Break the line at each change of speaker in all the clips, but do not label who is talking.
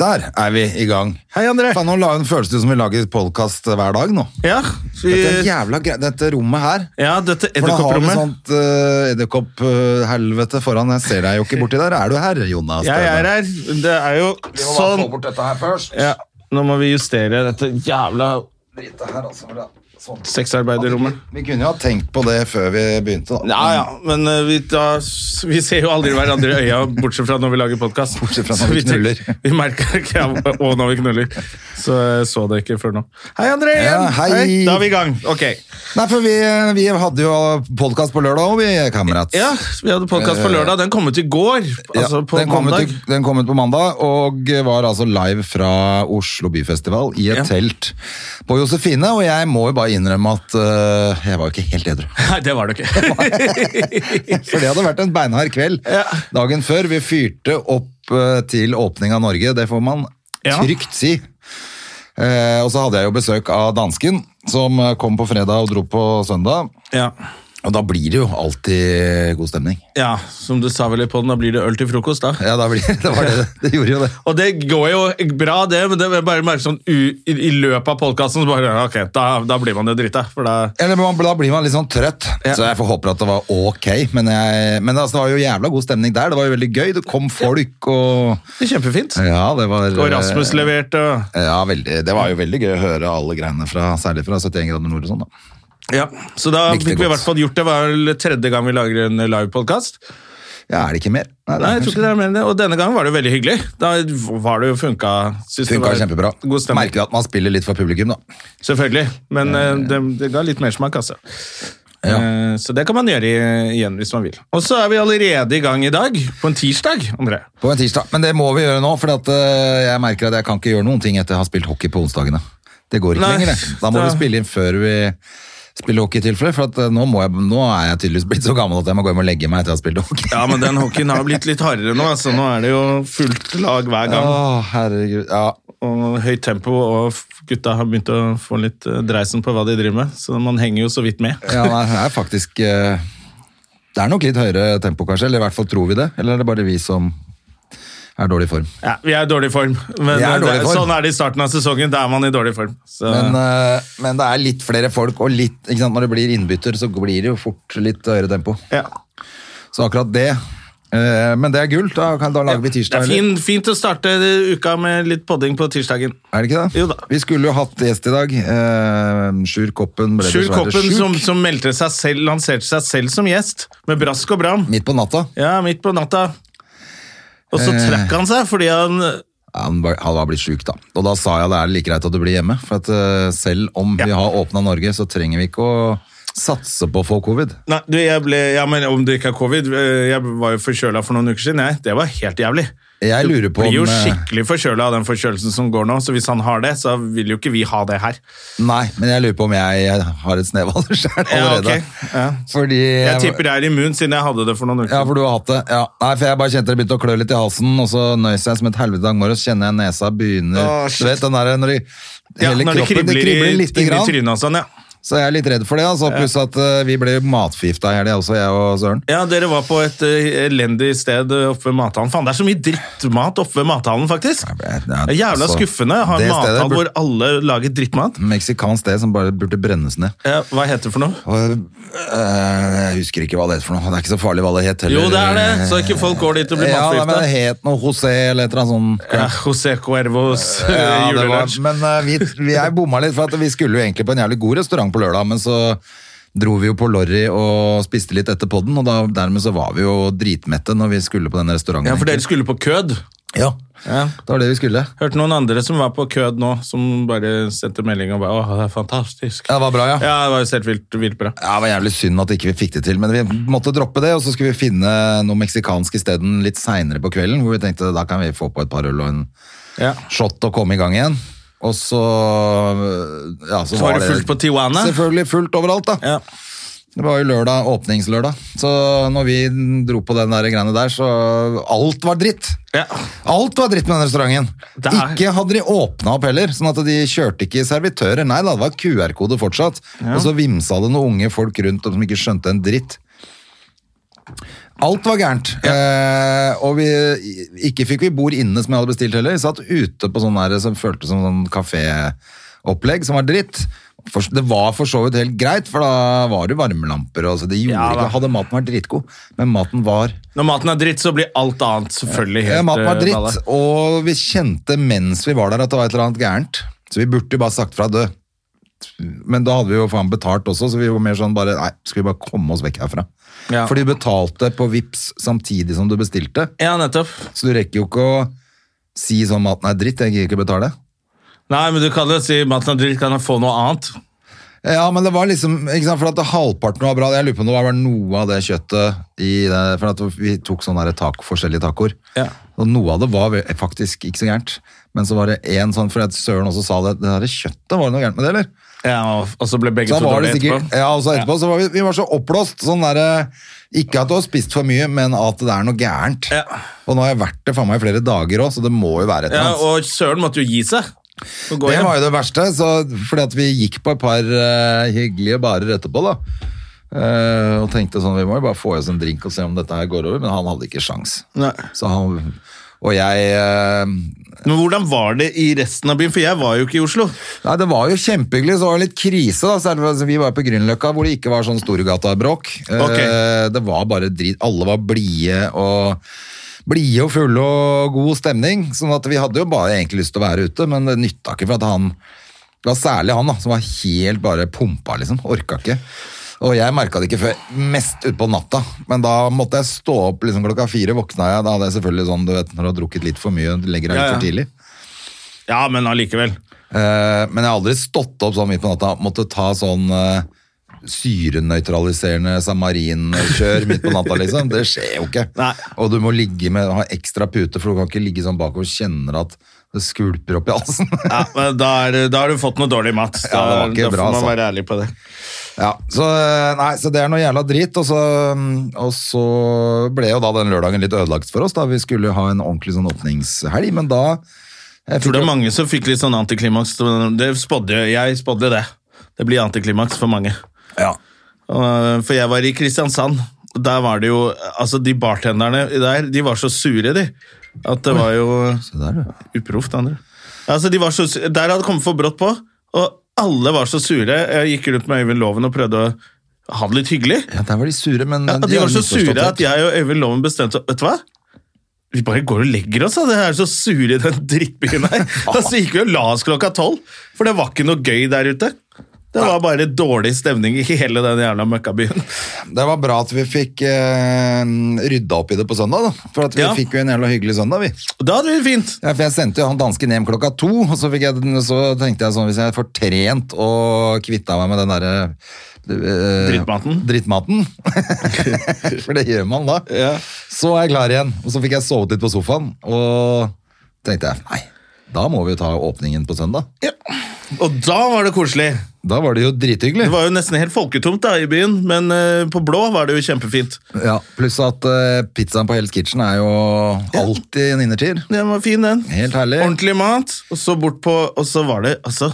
Der er vi i gang.
Hei, André.
Faen, nå la- nå føles det som vi lager podkast hver dag nå.
Ja, vi,
Dette, jævla gre dette rommet her.
ja, dette
For da har du
edderkopprommet.
sånt uh, edderkopphelvete foran. Jeg ser deg jo ikke borti der. Er du her, Jonas?
Jeg er her. Det er jo sånn
bort dette her først.
ja, Nå må vi justere dette jævla
altså,
sexarbeiderrommet.
Vi kunne jo ha tenkt på det før vi begynte, da.
Ja, ja, men eh, vi, da, vi ser jo aldri hverandre i øya, bortsett fra når vi lager podkast.
Bortsett fra når vi knuller.
Vi merker ikke, ja, Og når vi knuller. Så jeg så det ikke før nå. Hei, André! igjen.
Ja, hei.
Da er vi i gang. Ok.
Nei, for vi, eh, vi hadde jo podkast på lørdag òg, vi, kamerat.
Ja, Vi hadde podkast på lørdag. Den kom ut i går.
Eh, Ja,
Altså på
den kom ut
mandag.
i- den kom ut på mandag, og var altså live fra Oslo Byfestival i et
Ja.
telt på Josefine. Og jeg må jo bare innrømme at øh, jeg var jo ikke helt edru.
Nei, det var det ikke.
For det hadde vært en beinhard kveld
Ja.
dagen før. Vi fyrte opp øh, til åpning av Norge, det får man
Ja.
trygt si. Eh, og så hadde jeg jo besøk av dansken, som øh, kom på fredag og dro på søndag.
ja.
Og da blir det jo alltid god stemning.
ja, som du sa vel i podden, da blir det øl til frokost, da.
Ja, da blir, det var det. Det gjorde jo det.
Og det går jo bra, det, men det er bare merke sånn u, i, i løpet av podkasten så bare, ok, da, da blir man jo drita. For da
Eller man, Da blir man litt sånn trøtt,
Ja.
så jeg får håper at det var ok. Men, jeg, men altså, det var jo jævla god stemning der. Det var jo veldig gøy. Det kom folk og
Det er kjempefint.
Ja, det var
Og Rasmus
eh,
leverte. og-
Ja, veldig, Det var jo veldig gøy å høre alle greiene, fra, særlig fra 71 grader nord og sånn. da.
Ja, så da
Likte
fikk vi i
godt.
hvert fall gjort det. Det var vel tredje gang vi lager en livepodkast.
Ja, Er det ikke mer? det er
Nei, jeg tror ikke det er mer enn det. Og denne gangen var det jo veldig hyggelig. Da var det jo funka. synes det
Funka
var
kjempebra.
God stemning.
Merker at man spiller litt for publikum, da.
Selvfølgelig. Men eh, det, det ga litt mersmak, altså.
Ja.
Eh, Så det kan man gjøre i- igjen hvis man vil. Og så er vi allerede i gang i dag, på en tirsdag, André.
På en tirsdag. Men det må vi gjøre nå, for at, eh, jeg merker at jeg kan ikke gjøre noen ting etter jeg har spilt hockey på onsdagene. Det går ikke
Nei,
lenger. det. Da må
da-
vi spille inn før vi spiller hockey, i tilfelle. For at, eh, nå, må jeg, nå er jeg tydeligvis blitt så gammel at jeg må gå hjem og legge meg etter jeg har spilt hockey.
Ja, men den hockeyen har blitt litt hardere nå. Altså, nå er det jo fullt lag hver gang.
Å, herregud. Ja.
Og høyt tempo, og f- gutta har begynt å få litt eh, dreisen på hva de driver med. Så man henger jo så vidt med.
ja, nei, det er faktisk eh, Det er nok litt høyere tempo, kanskje. Eller i hvert fall tror vi det. Eller er det bare vi som er dårlig i form.
Ja, vi er i dårlig form, men
Vi er i
eh, det,
dårlig form.
sånn er det i starten av sesongen. Da er man i dårlig form. Så,
Men, eh, men det er litt flere folk, og litt, ikke sant? når det blir innbytter, så blir det jo fort litt høyere tempo.
ja.
Så akkurat det. eh, men det er gult. Da, kan- da lager vi
Det
tirsdag.
er
eller?
fin, fint å starte uka med litt podding på tirsdagen.
Er det ikke det?
Jo da.
Vi skulle jo hatt gjest i dag. Eh, Sjur Koppen ble
Sjur
dessverre
Koppen
sjuk
som, som meldte seg selv, lanserte seg selv som gjest, med brask og bram.
midt på natta.
Ja, midt på natta. Og så
Eh.
trakk han seg fordi han
Han var, han var blitt sjuk, da. Og da sa jeg det er like greit at du blir hjemme. For at eh, selv om vi
Ja.
har åpna Norge, så trenger vi ikke å satse på å få covid.
Nei, du, jeg ble Ja, men om det ikke er covid eh, Jeg var jo forkjøla for noen uker siden, jeg. Det var helt jævlig.
Jeg lurer på
Blir jo
om eh,
skikkelig forkjøla av den forkjølelsen som går nå, så hvis han har det, så vil jo ikke vi ha det her.
Nei, men jeg lurer på om jeg, jeg har et snev av det sjøl
Ja,
allerede.
ok. Ja.
Fordi
Jeg tipper jeg er immun, siden jeg hadde det for noen uker
Ja,
siden.
for du har hatt det. Ja. Nei, for jeg bare kjente det begynte å klø litt i halsen, og så nøys jeg som et helvete i dag morges. Kjenner jeg nesa begynner
Å,
Du vet den der når det,
Ja,
hele
når det
kroppen
kribler,
det kribler
i,
lite
inn i
grann.
trynet og sånn, ja.
Så jeg er litt redd for det. Altså. Pluss at eh, vi ble jo matforgifta i helga også, jeg og Søren.
Ja, dere var på et eh, elendig sted eh, oppe ved mathallen. Faen, det er så mye drittmat oppe ved mathallen, faktisk.
Ja,
Det
men, ja,
er jævla
altså,
skuffende å ha en
det stedet
mathall
burde-
hvor alle lager drittmat.
Meksikansk sted som bare burde brennes ned.
Ja, hva heter det for noe?
Og, øh, jeg husker ikke hva det heter for noe. Det er ikke så farlig hva det het heller.
Jo, det er det! Så ikke folk går dit og blir
ja, nei, men det
matforgifta.
het noe José eller et eller annet sånn sånt.
Ja, José Cuervos eh,
Ja, det var,
julelunsj.
men øh, vi, vi jeg bomma litt, for at vi skulle jo egentlig på en jævlig god restaurant på lørdag, men så dro vi jo på Lorry og spiste litt etter podden, og da, dermed så var vi jo dritmette når vi skulle på den restauranten.
Ja, for dere
egentlig.
skulle på kød.
Ja,
Ja.
det var det vi skulle.
Hørte noen andre som var på kød nå, som bare sendte melding og bare Åh, det er fantastisk.
Ja, det var bra, ja.
Ja, det var jo helt vilt, vilt bra.
Ja, Det var jævlig synd at ikke vi fikk det til, men vi måtte droppe det. Og så skulle vi finne noe meksikansk isteden litt seinere på kvelden, hvor vi tenkte da kan vi få på et par øl og en
Ja.
shot og komme i gang igjen. Og så ja, Så,
Så var det fullt på Tijuana?
Selvfølgelig fullt overalt, da.
Ja.
Det var jo lørdag, åpningslørdag. Så når vi dro på den der greiene der, så Alt var dritt!
Ja.
Alt var dritt med den restauranten.
Det er-
Ikke hadde de åpna opp heller, sånn at de kjørte ikke servitører. Nei da, det var QR-kode fortsatt. Og så vimsa det noen unge folk rundt som ikke skjønte en dritt. Alt var gærent. Eh, og vi, ikke fikk vi bord inne som jeg hadde bestilt heller. Vi satt ute på sånn der som føltes som sånn kaféopplegg som var dritt. For, det var for så vidt helt greit, for da var det varmelamper. Og, så det gjorde
Ja, da.
ikke, hadde maten vært dritgod, men maten var
Når maten er dritt, så blir alt annet selvfølgelig helt
ja, maten var
eh,
dritt,
balle.
og vi kjente mens vi var der at det var et eller annet gærent. Så vi burde jo bare sagt fra død. Men da hadde vi jo faen betalt også, så vi var mer sånn bare Nei, skal vi bare komme oss vekk herfra?
Ja.
For de betalte på Vips samtidig som du bestilte,
Ja, nettopp.
så du rekker jo ikke å si sånn maten er dritt, jeg gidder ikke betale.
Nei, men du kan jo si maten er dritt, kan jeg få noe annet?
Ja, men det var liksom ikke sant, For at det halvparten var bra. Jeg lurer på om det var noe av det kjøttet i det, For at vi tok sånne der tak, forskjellige tacoer.
Ja.
Og noe av det var vel- faktisk ikke så gærent. Men så var det én sånn, for at Søren også sa det. Det der kjøttet, var det noe gærent med det, eller?
Ja, og- og så ble begge to
Så da Sånn var det
dårlige
sikkert,
etterpå.
ja, og så etterpå så var vi, vi var så oppblåst. Sånn derre Ikke at du har spist for mye, men at det er noe gærent.
Ja.
Og nå har jeg vært det faen meg i flere dager òg, så det må jo være et eller
Ja,
annet.
og Søren måtte jo gi seg. Og gå
Det
hjem.
var jo det verste, så, fordi at vi gikk på et par eh, hyggelige barer etterpå da. Eh, og tenkte sånn, vi må jo bare få oss en drink og se om dette her går over, men han hadde ikke sjans.
Nei.
Så han, og jeg, eh,
Men hvordan var det i resten av byen? For jeg var jo ikke i Oslo.
nei det var jo kjempehyggelig, så var det litt krise da, særlig for- altså, vi var på Grünnløkka hvor det ikke var sånn Storgata-bråk. Eh,
Ok.
det var bare drit, alle var blide og, blide og fulle og god stemning, sånn at vi hadde jo bare egentlig lyst til å være ute, men det nytta ikke for at han, Det var særlig han da, som var helt bare pumpa, liksom. Orka ikke. Og jeg merka det ikke før mest utpå natta, men da måtte jeg stå opp liksom klokka fire. Våkna jeg, da hadde jeg selvfølgelig sånn du vet, når du har drukket litt for mye, du legger deg litt
Ja, ja.
for tidlig.
Ja, men allikevel.
Eh, men jeg har aldri stått opp sånn midt på natta, måtte ta sånn eh, syrenøytraliserende samarinkjør midt på natta, liksom. Det skjer jo ikke.
Nei.
Og du må ligge med, ha ekstra pute, for du kan ikke ligge sånn bakover og kjenner at det skvulper opp i halsen.
Ja, men da, er, det- da har du fått noe dårlig mat. Da,
Ja, det var ikke
da får
bra,
man
altså.
være ærlig på det.
Ja, så, eh, nei, så det er noe jævla drit, og så, mm, og så ble jo da den lørdagen litt ødelagt for oss, da vi skulle jo ha en ordentlig sånn åpningshelg, men da... Jeg
Tror det
fikk
er
jo-
mange som fikk litt sånn antiklimaks. Det spådde, jeg- jeg spådde det. Det blir antiklimaks for mange.
Ja.
Og, For jeg var i Kristiansand. og Der var det jo Altså, de bartenderne der, de var så sure, de. At det var jo
Se der, du.
Uproft, andre. Altså, de var så, su- der hadde det kommet for brått på, og alle var så sure. Jeg gikk rundt med Øyvind Loven og prøvde å ha det litt hyggelig.
Ja, der var de sure, men...
Ja, og de
hadde
var så
misforstått
sure
helt.
at jeg og Øyvind Loven bestemte Vet du hva? Vi bare går og legger oss, da. Det er så sure i den drittbyen her. Og så gikk vi og la oss klokka tolv, for det var ikke noe gøy der ute. Det var bare dårlig stemning i hele den jævla møkkabyen.
Det var bra at vi fikk eh, rydda opp i det på søndag, da. For at vi
Ja.
fikk jo en jævla hyggelig søndag, vi.
Og da hadde vi det fint.
Ja, for jeg sendte jo han dansken hjem klokka to, og så, fikk jeg, så tenkte jeg sånn, hvis jeg får trent og kvitta meg med den derre eh,
Drittmaten.
drittmaten. For det gjør man da.
Ja.
Så er jeg klar igjen. Og så fikk jeg sovet litt på sofaen, og tenkte jeg nei, da må vi jo ta åpningen på søndag.
Og da var det koselig.
Da var det jo drithyggelig.
Det var jo nesten helt folketomt da i byen, men eh, på Blå var det jo kjempefint.
Ja, Pluss at eh, pizzaen på Hell's Kitchen er jo alltid en innertier.
Den var fin, den.
Helt herlig.
Ordentlig mat. Og så bort på Og så var det altså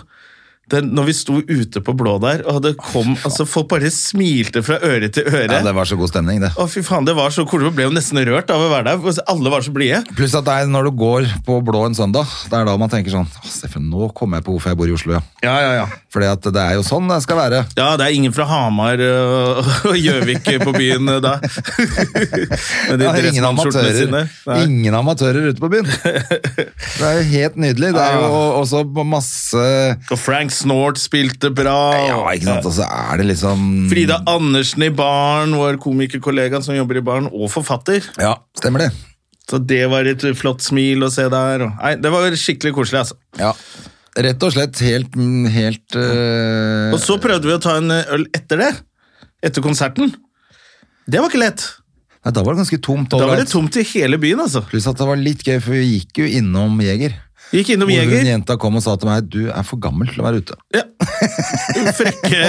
den, Når vi sto ute på Blå der, og det kom altså Folk bare smilte fra øre til øre.
Ja, det var så god stemning, det.
Å, fy faen, det var så koselig. Vi ble jo nesten rørt av å være der. for Alle var så blide.
Pluss at det er når du går på blå en søndag, det er da man tenker sånn «Å, Steffen, nå kommer jeg på hvorfor jeg bor i Oslo, ja.
Ja, ja, ja.
Fordi at det er jo sånn det skal være.
Ja, det er ingen fra Hamar øh, og Gjøvik på byen øh, da. Med de
Det er ingen
dressmannsskjortene sine.
amatører,
Nei.
ingen amatører ute på byen. Det er jo helt nydelig. Det er jo
Ah.
også masse
Og Frank Snort spilte bra.
Ja, ikke sant. Og så er det liksom
Frida Andersen i baren, vår komikerkollega som jobber i baren, og forfatter.
Ja, stemmer det.
Så det var et flott smil å se der. Og, nei, det var skikkelig koselig, altså.
Ja. Rett og slett helt, mm, helt eh,
Og så prøvde vi å ta en eh, øl etter det. Etter konserten. Det var ikke lett.
Nei, da var det ganske tomt.
Da var
overalt.
det tomt i hele byen, altså.
Pluss at det var litt gøy, for vi gikk jo innom Jeger.
Gikk innom
Hvor hun
Jeger.
jenta kom og sa til meg du er for gammel til å være ute.
Ja. Frekke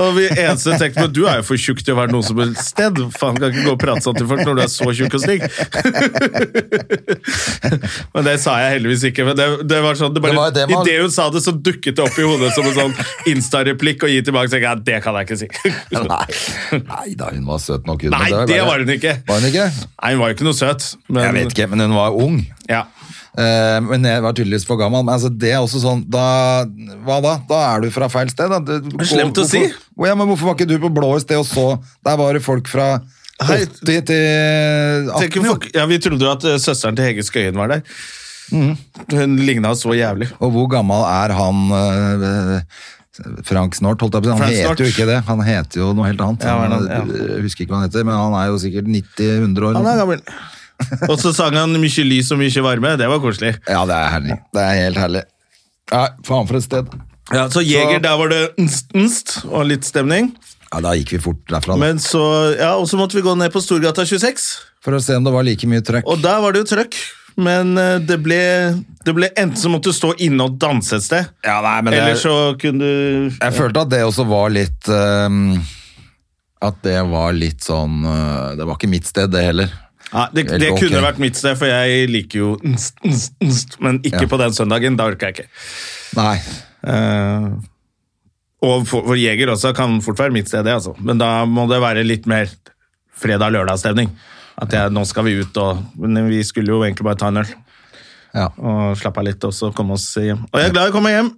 Og vi eneste tenkte på Du er jo for tjukk til å være noe som helst sted. Faen, kan ikke gå og prate sånn til folk når du er så tjukk og stygg. Men det sa jeg heldigvis ikke. Men det, det var sånn det
Det
bare,
var et tema.
Idet hun sa det, så dukket det opp i hodet som en sånn Insta-replikk og gi tilbake. Så tenkte jeg, det kan jeg ikke si.
Nei, nei da, hun var søt nok. Hun,
Nei,
men
det
bare-
var hun ikke.
Var hun ikke?
Nei, hun var jo ikke noe søt. Men,
Jeg vet ikke, men hun var ung.
Ja.
Eh, men jeg var tydeligvis for gammel. Men altså, det er også sånn da, Hva da? Da er du fra feil sted. Da. Det,
er slemt å si.
Å, ja, men hvorfor var ikke du på blå i sted, og så Der var det folk fra
Hei.
80 til 18?
Tenk,
jo.
fuck, ja, vi trodde jo at eh, søsteren til Hege Skøyen var der.
Mm.
Hun ligna så jævlig.
Og hvor gammel er han eh, Frank Snort, holdt jeg på å si. Han
Frank
heter
Snort.
jo ikke det. Han heter jo noe helt annet.
Ja, hva er
han,
det han- ja.
jeg husker ikke hva han heter, men han er jo sikkert 90-100 år.
Han er gammel. Og så sang han 'Mykje lys og mykje varme'. Det var koselig.
Ja, det er herlig. Det er helt herlig. Ja, faen for et sted.
Ja, så Jeger, der var det nst, nst og litt stemning.
Ja, Da gikk vi fort derfra da.
Men så, ja, Og så måtte vi gå ned på Storgata 26,
for å se om det var like mye trøkk.
og der var det jo trøkk. Men eh, det ble, det ble enten så måtte du stå inne og danse et sted,
Ja, nei, men det er-
eller så kunne du
Jeg følte at det også var litt ehm, At det var litt sånn eh, Det var ikke mitt sted, det heller.
Nei, det,
Eller
det
ok.
kunne vært mitt sted, for jeg liker jo nst, nst, nst, men ikke
Ja.
på den søndagen. Da orker jeg ikke.
Nei.
Eh, og for, for jeger også kan fort være mitt sted, det, altså. Men da må det være litt mer fredag-lørdag-stemning. At jeg, nå skal vi ut og Men vi skulle jo egentlig bare ta en øl
Ja.
og slappe av litt, og så komme oss hjem. Og jeg er glad jeg kommer hjem!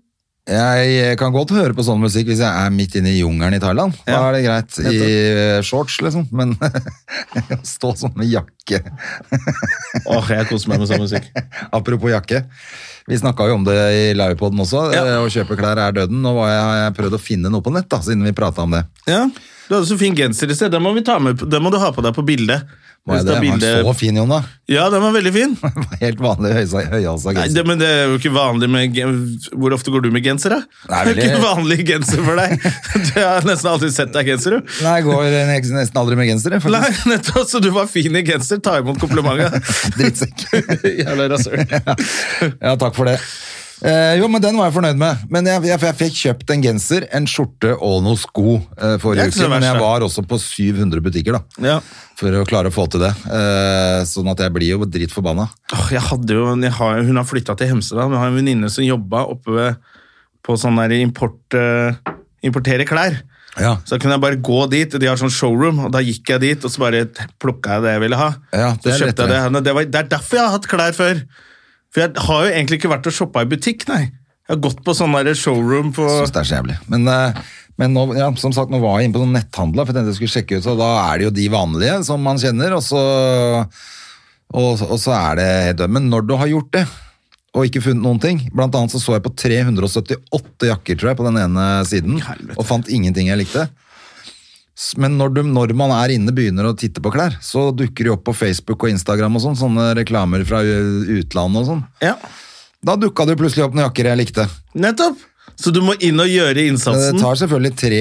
Jeg kan godt høre på sånn musikk hvis jeg er midt inne i jungelen i Thailand. Da
Ja.
er det greit. I eh, shorts, liksom. Men å stå sånn med jakke
Åh, jeg koser meg med sånn musikk.
Apropos jakke. Vi snakka jo om det i Livepoden også.
Ja.
eh, Å kjøpe klær er døden. Nå var jeg, har jeg prøvd å finne noe på nett, da, siden vi prata om det.
Ja, Du hadde så fin genser i sted. Den må, vi ta med, den må du ha på deg på bildet.
Var
Hvis
jeg
du
det?
har
Jeg
bilde-
var så fin, Jonna.
Ja, den var veldig fin.
Helt vanlig høysa- høyhalsa
Nei,
genser.
det, men det er jo ikke vanlig med gen- Hvor ofte går du med genser, da? Det
Nei,
er
vel,
ikke
det-
vanlig genser for deg. Du har nesten aldri sett deg i genser, du.
Nei, jeg går nesten aldri med genser, jeg,
Nei,
faktisk.
nettopp, så du var fin i genser. Ta imot komplimentet.
Drittsekk.
Jævla rasøl.
Ja, takk for det. Eh, jo, men den var jeg fornøyd med. Men jeg, jeg, jeg fikk kjøpt en genser, en skjorte og noen sko eh,
Det er
forrige
ikke så
uke. Men
verst,
jeg
da.
var også på 700 butikker, da.
Ja.
For å klare å få til det. Eh, sånn at jeg blir jo dritforbanna.
Åh, Jeg hadde jo, en- jeg har, hun har flytta til Hemsedal, men jeg har en venninne som jobba oppe ved, på sånn der import, eh, importere klær.
Ja.
Så da kunne jeg bare gå dit, og de har sånn showroom, og da gikk jeg dit, og så bare plukka jeg det jeg ville ha.
Ja, det
så
er
kjøpte jeg det.
lettere.
her. Det, var, det er derfor jeg har hatt klær før. For jeg har jo egentlig ikke vært og shoppa i butikk, nei. Jeg har gått på sånn der showroom på
Syns det er så jævlig. Men, eh, men nå, ja, som sagt, nå var jeg inne på sånn netthandler, for jeg tenkte jeg skulle sjekke ut, og da er det jo de vanlige som man kjenner, og så, og, og så er det helt dømt. Men når du har gjort det, og ikke funnet noen ting, blant annet så så jeg på 378 jakker, tror jeg, på den ene siden,
Helvete.
og fant ingenting jeg likte. S- Men når, du, når man er inne begynner å titte på klær, så dukker de opp på Facebook og Instagram og sånn, sånne reklamer fra u- utlandet og sånn.
Ja,
Da dukka det jo plutselig opp noen jakker jeg likte.
nettopp! Så du må inn og gjøre
Men
innsatsen.
Det tar selvfølgelig tre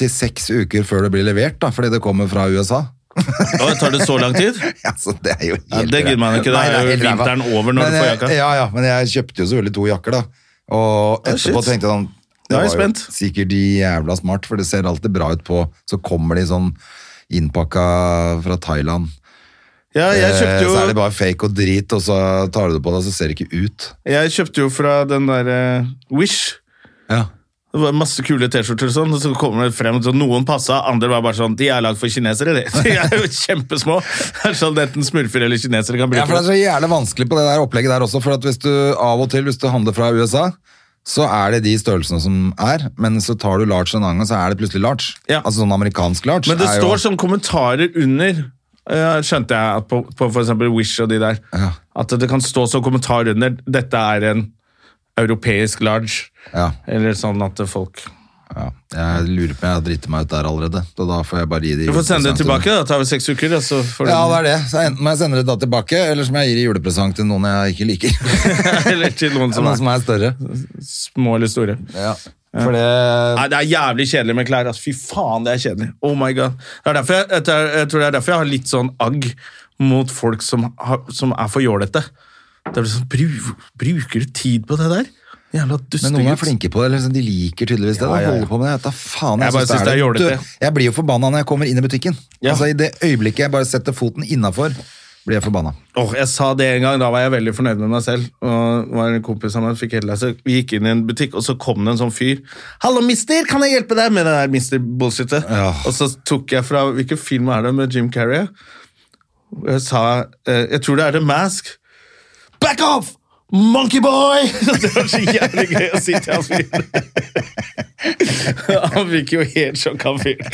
til seks uker før det blir levert, da, fordi det kommer fra USA.
Å, tar det så lang tid?
Altså, det er jo helt
Ja, det gidder man ikke. Da
Nei,
er jo
helt ræva.
vinteren over når
men,
du får
jeg-
jakka.
Ja, ja, men jeg kjøpte jo selvfølgelig to jakker, da. Og
Ja,
etterpå
shit.
tenkte jeg sånn
Da er jeg
var jo
spent.
Sikkert de jævla smart, for det ser alltid bra ut på Så kommer de sånn innpakka fra Thailand.
Ja, jeg
Eh, Så er
kjøpte
det
jo,
bare fake og drit, og så tar du det på deg, så ser det ikke ut.
jeg kjøpte jo fra den derre Wish.
Ja.
Det var masse kule T-skjorter og sånn, og så kommer det frem så noen passa, andre var bare sånn De er lagd for kinesere, de. De er jo kjempesmå. Det er sånn Enten smurfer eller kinesere kan
Ja,
bruke
for altså, det
det.
er så jævlig vanskelig på det der opplegget der også, for at hvis du av og til, hvis du handler fra USA, så er det de størrelsene som er, men så tar du large en annen gang, så er det plutselig large.
Ja.
Altså sånn amerikansk large.
Men det
er
står sånn kommentarer under, eh, skjønte jeg, at på, på f.eks. Wish og de der,
Ja.
at det kan stå som kommentar under 'Dette er en europeisk large',
Ja.
eller sånn at folk
Ja. Jeg lurer på om jeg har driti meg ut der allerede. Så da får jeg bare gi de
Du får sende det tilbake, da. Tar vi seks uker, da, så får du
Ja, det er det. Så enten må jeg sende det da tilbake, eller så må jeg gi det i julepresang til noen jeg ikke liker.
Eller til noen som
noen
er
som er større.
små eller store.
Ja. For det
Nei, det er jævlig kjedelig med klær. ass. Fy faen, det er kjedelig. Oh my god. Det er derfor jeg, jeg tror- jeg tror det er derfor jeg har litt sånn agg mot folk som, har, som er for jålete. Det er liksom, bru, Bruker du tid på det der? Jævla dustegutt.
Men noen er flinke på det, eller liksom, de liker tydeligvis det.
Ja, ja, ja.
De holder på med det. Jeg, vet da faen,
Jeg bare synes det er
ærlig.
jålete.
Du, jeg blir jo forbanna når jeg kommer inn i butikken.
Ja.
Altså, I det øyeblikket jeg bare setter foten innafor, blir jeg forbanna.
Åh, jeg sa det en gang, da var jeg veldig fornøyd med meg selv. Og det var en kompis av meg som fikk hele seg. Vi gikk inn i en butikk, og så kom det en sånn fyr. 'Hallo, mister, kan jeg hjelpe deg med det der mister-bullshitet?'
Ja.
Og så tok jeg fra Hvilken film er det med Jim Carrey? Og Jeg sa eh, Jeg tror det er The Mask. Back off! Monkey boy! Det var så jævlig gøy å si til han fyren. Han fikk jo helt sjokk, han fyren.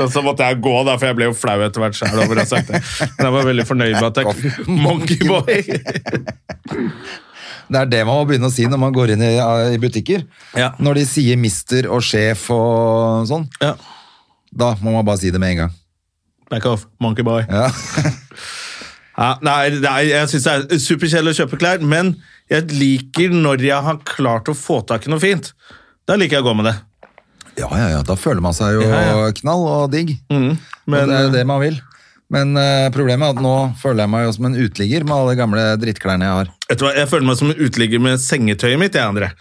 Og så måtte jeg gå, da, for jeg ble jo flau etter hvert sjøl over å ha sagt det. Men jeg var veldig fornøyd med at jeg Monkey boy!
Det er det man må begynne å si når man går inn i, i butikker.
Ja.
Når de sier mister og sjef og sånn,
Ja.
da må man bare si det med en gang.
Back off, monkey boy.
Ja.
Ja, nei, nei, jeg syns det er superkjedelig å kjøpe klær, men jeg liker når jeg har klart å få tak i noe fint. Da liker jeg å gå med det.
ja, ja, ja. Da føler man seg jo
Ja, Mm,
knall og digg.
men- eh,
og det er jo det man vil. Men eh, problemet er at nå føler jeg meg jo som en uteligger med alle de gamle drittklærne jeg har.
Vet du hva, Jeg føler meg som en uteligger med sengetøyet mitt. Jeg, André.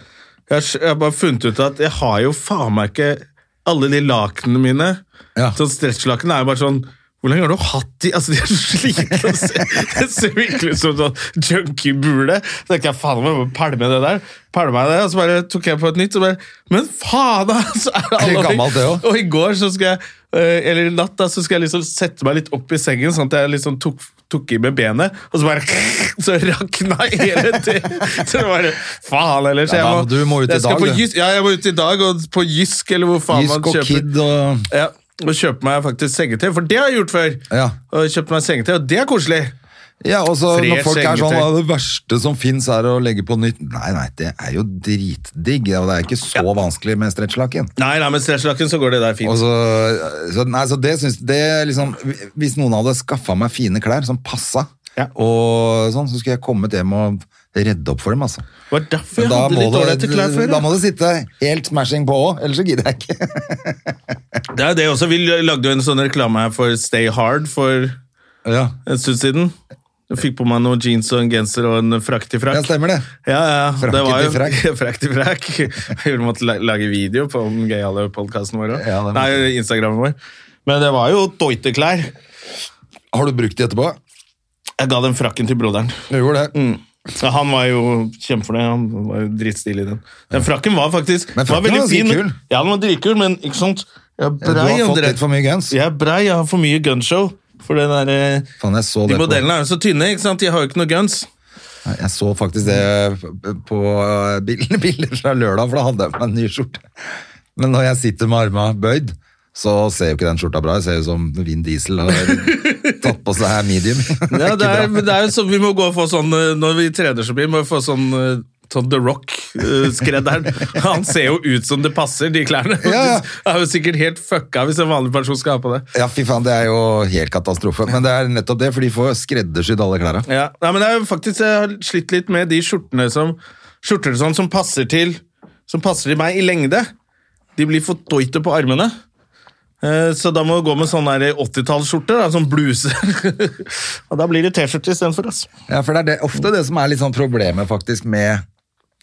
Jeg, har s- jeg har bare funnet ut at jeg har jo faen meg ikke alle de lakenene mine.
Ja.
Sånn Stretchlaken er jo bare sånn Hvor lenge har du hatt de? Altså, De er så slitne. å se. Det ser virkelig ut som sånn junkiebule. Så tenkte jeg faen, jeg må bare pælme det der. Pælma jeg det, Og så bare tok jeg på et nytt. Og bare, Men faen, da! Så er det
Er det
alle-
gammelt, det også?
og i går så skal jeg, eh, eller i natt da, så skal jeg liksom sette meg litt opp i sengen, sånn at jeg liksom tok, tok i med benet, og så bare, så rakna hele det. Så det bare, faen ellers. Jeg
Ja,
må,
men du må ut i
jeg skal
dag,
på
du.
Jys- Ja, jeg må ut i dag, og på Jysk, eller hvor faen man
Jysk og
kjøper.
Kid og
Ja, og kjøpe meg faktisk sengetøy, for det har jeg gjort før.
Ja.
Og kjøpt meg sengetøy, og det er koselig.
Ja, og så
Fred
når folk er sånn
sengetøy.
«Å, Det verste som fins, er å legge på nytt. Nei, nei, det er jo dritdigg. Og det er ikke så vanskelig med stretchlaken.
Nei, nei, men stretchlaken så går det der
Og
fint.
så, så, nei, så det syns det liksom Hvis noen hadde skaffa meg fine klær som passa,
Ja.
og sånn, så skulle jeg kommet hjem og redde opp for dem, altså.
Det var derfor
Men
jeg
da
hadde
må,
litt dårlig etter klær
det,
før.
da
ja.
må det sitte helt smashing på òg, ellers så gidder jeg ikke.
Det er jo det også, vi lagde jo en sånn reklame her for Stay Hard, for...
Ja,
en stund siden. Jeg fikk på meg noen jeans og en genser og en frakk til frakk.
stemmer det.
Ja, ja,
Frakk
det var
til
jo frakk.
frakk.
til frakk. Vi måtte la- lage video på den gøyale podkasten vår. også.
Ja, det må-
Nei, Instagramen vår. Men det var jo doiteklær.
Har du brukt de etterpå?
Jeg ga den frakken til broderen.
Du gjorde det.
Mm. Ja, han var jo kjempefornøyd. Han var jo dritstilig i den. Den frakken var faktisk
Men
var
frakken
veldig
var
fin.
ganske
men-
kul.
Ja, den var dritkul, men ikke sant Jeg er
Du har
brei,
fått
André.
litt for mye guns.
Jeg er brei, jeg har for mye gunshow. For den der, eh,
Faen, jeg så
de
det på
modellene er jo så tynne, ikke sant? De har jo ikke noe guns.
Nei, Jeg så faktisk det på eh, bild- bilder fra lørdag, for da hadde jeg på meg en ny skjorte. Men når jeg sitter med arma bøyd, så ser jo ikke den skjorta bra ut. Ser jo som Vin Diesel har tatt på seg medium. Det
Ja,
er
det er,
ikke bra.
men det er jo sånn, vi må gå og få sånn eh, Når vi trener så mye, må vi få sånn, eh, sånn The Rock-skredderen. Han ser jo ut som det passer, de klærne.
Ja, ja.
Det er jo sikkert helt fucka hvis en vanlig person skal ha på det.
Ja, fy faen, det er jo helt katastrofe. Men det er nettopp det, for de får skreddersydd alle klærne.
Ja. Nei, men jeg, faktisk, jeg har slitt litt med de skjortene som, skjorter og sånn, som passer til Som passer til meg i lengde. De blir for doite på armene. Eh, Så da må du gå med sånn 80-tallsskjorte, da, sånn bluse. og da blir det T-skjorte istedenfor. Altså.
Ja, for det er det, ofte det som er litt sånn problemet faktisk med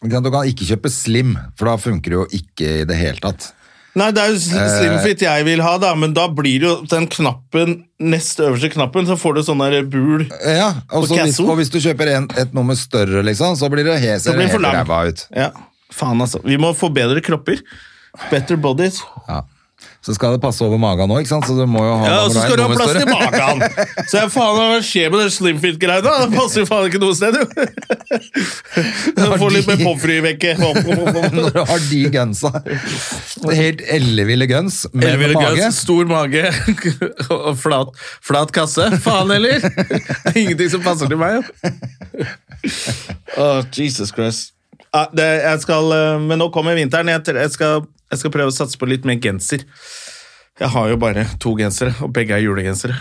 ikke sant, Du kan ikke kjøpe slim, for da funker det jo ikke i det hele tatt.
Nei, det er jo sl- slimfit jeg vil ha, da, men da blir det jo den knappen, nest øverste knappen, så får du sånn der bul.
Ja, og,
Og
så hvis,
Castle?
og hvis du kjøper en, et nummer større, liksom, så blir det
Det
helt, ser det
blir for
helt
lang.
ræva ut.
Ja, faen altså. Vi må få bedre kropper. Better bodies.
Ja. Så skal det passe over magen òg, ikke sant? Så du må jo ha
Ja,
nummer-
og så skal du ha
nummer
plass
større.
til magen! Så jeg faen, hva skjer med den slimfit-greia? Det passer jo faen ikke noe sted, jo! Du får litt mer pommes frites
Når
vekke.
du har de gunsa. Helt elleville guns med
Elvire
mage.
Guns, stor mage og flat, flat kasse. Faen heller! Det er Ingenting som passer til meg. jo. Ah, Åh, Jesus Christ. Ja, det, jeg skal, eh, men nå kommer vinteren. Jeg, tre- jeg skal Jeg skal prøve å satse på litt mer genser. Jeg har jo bare to gensere, og begge er julegensere.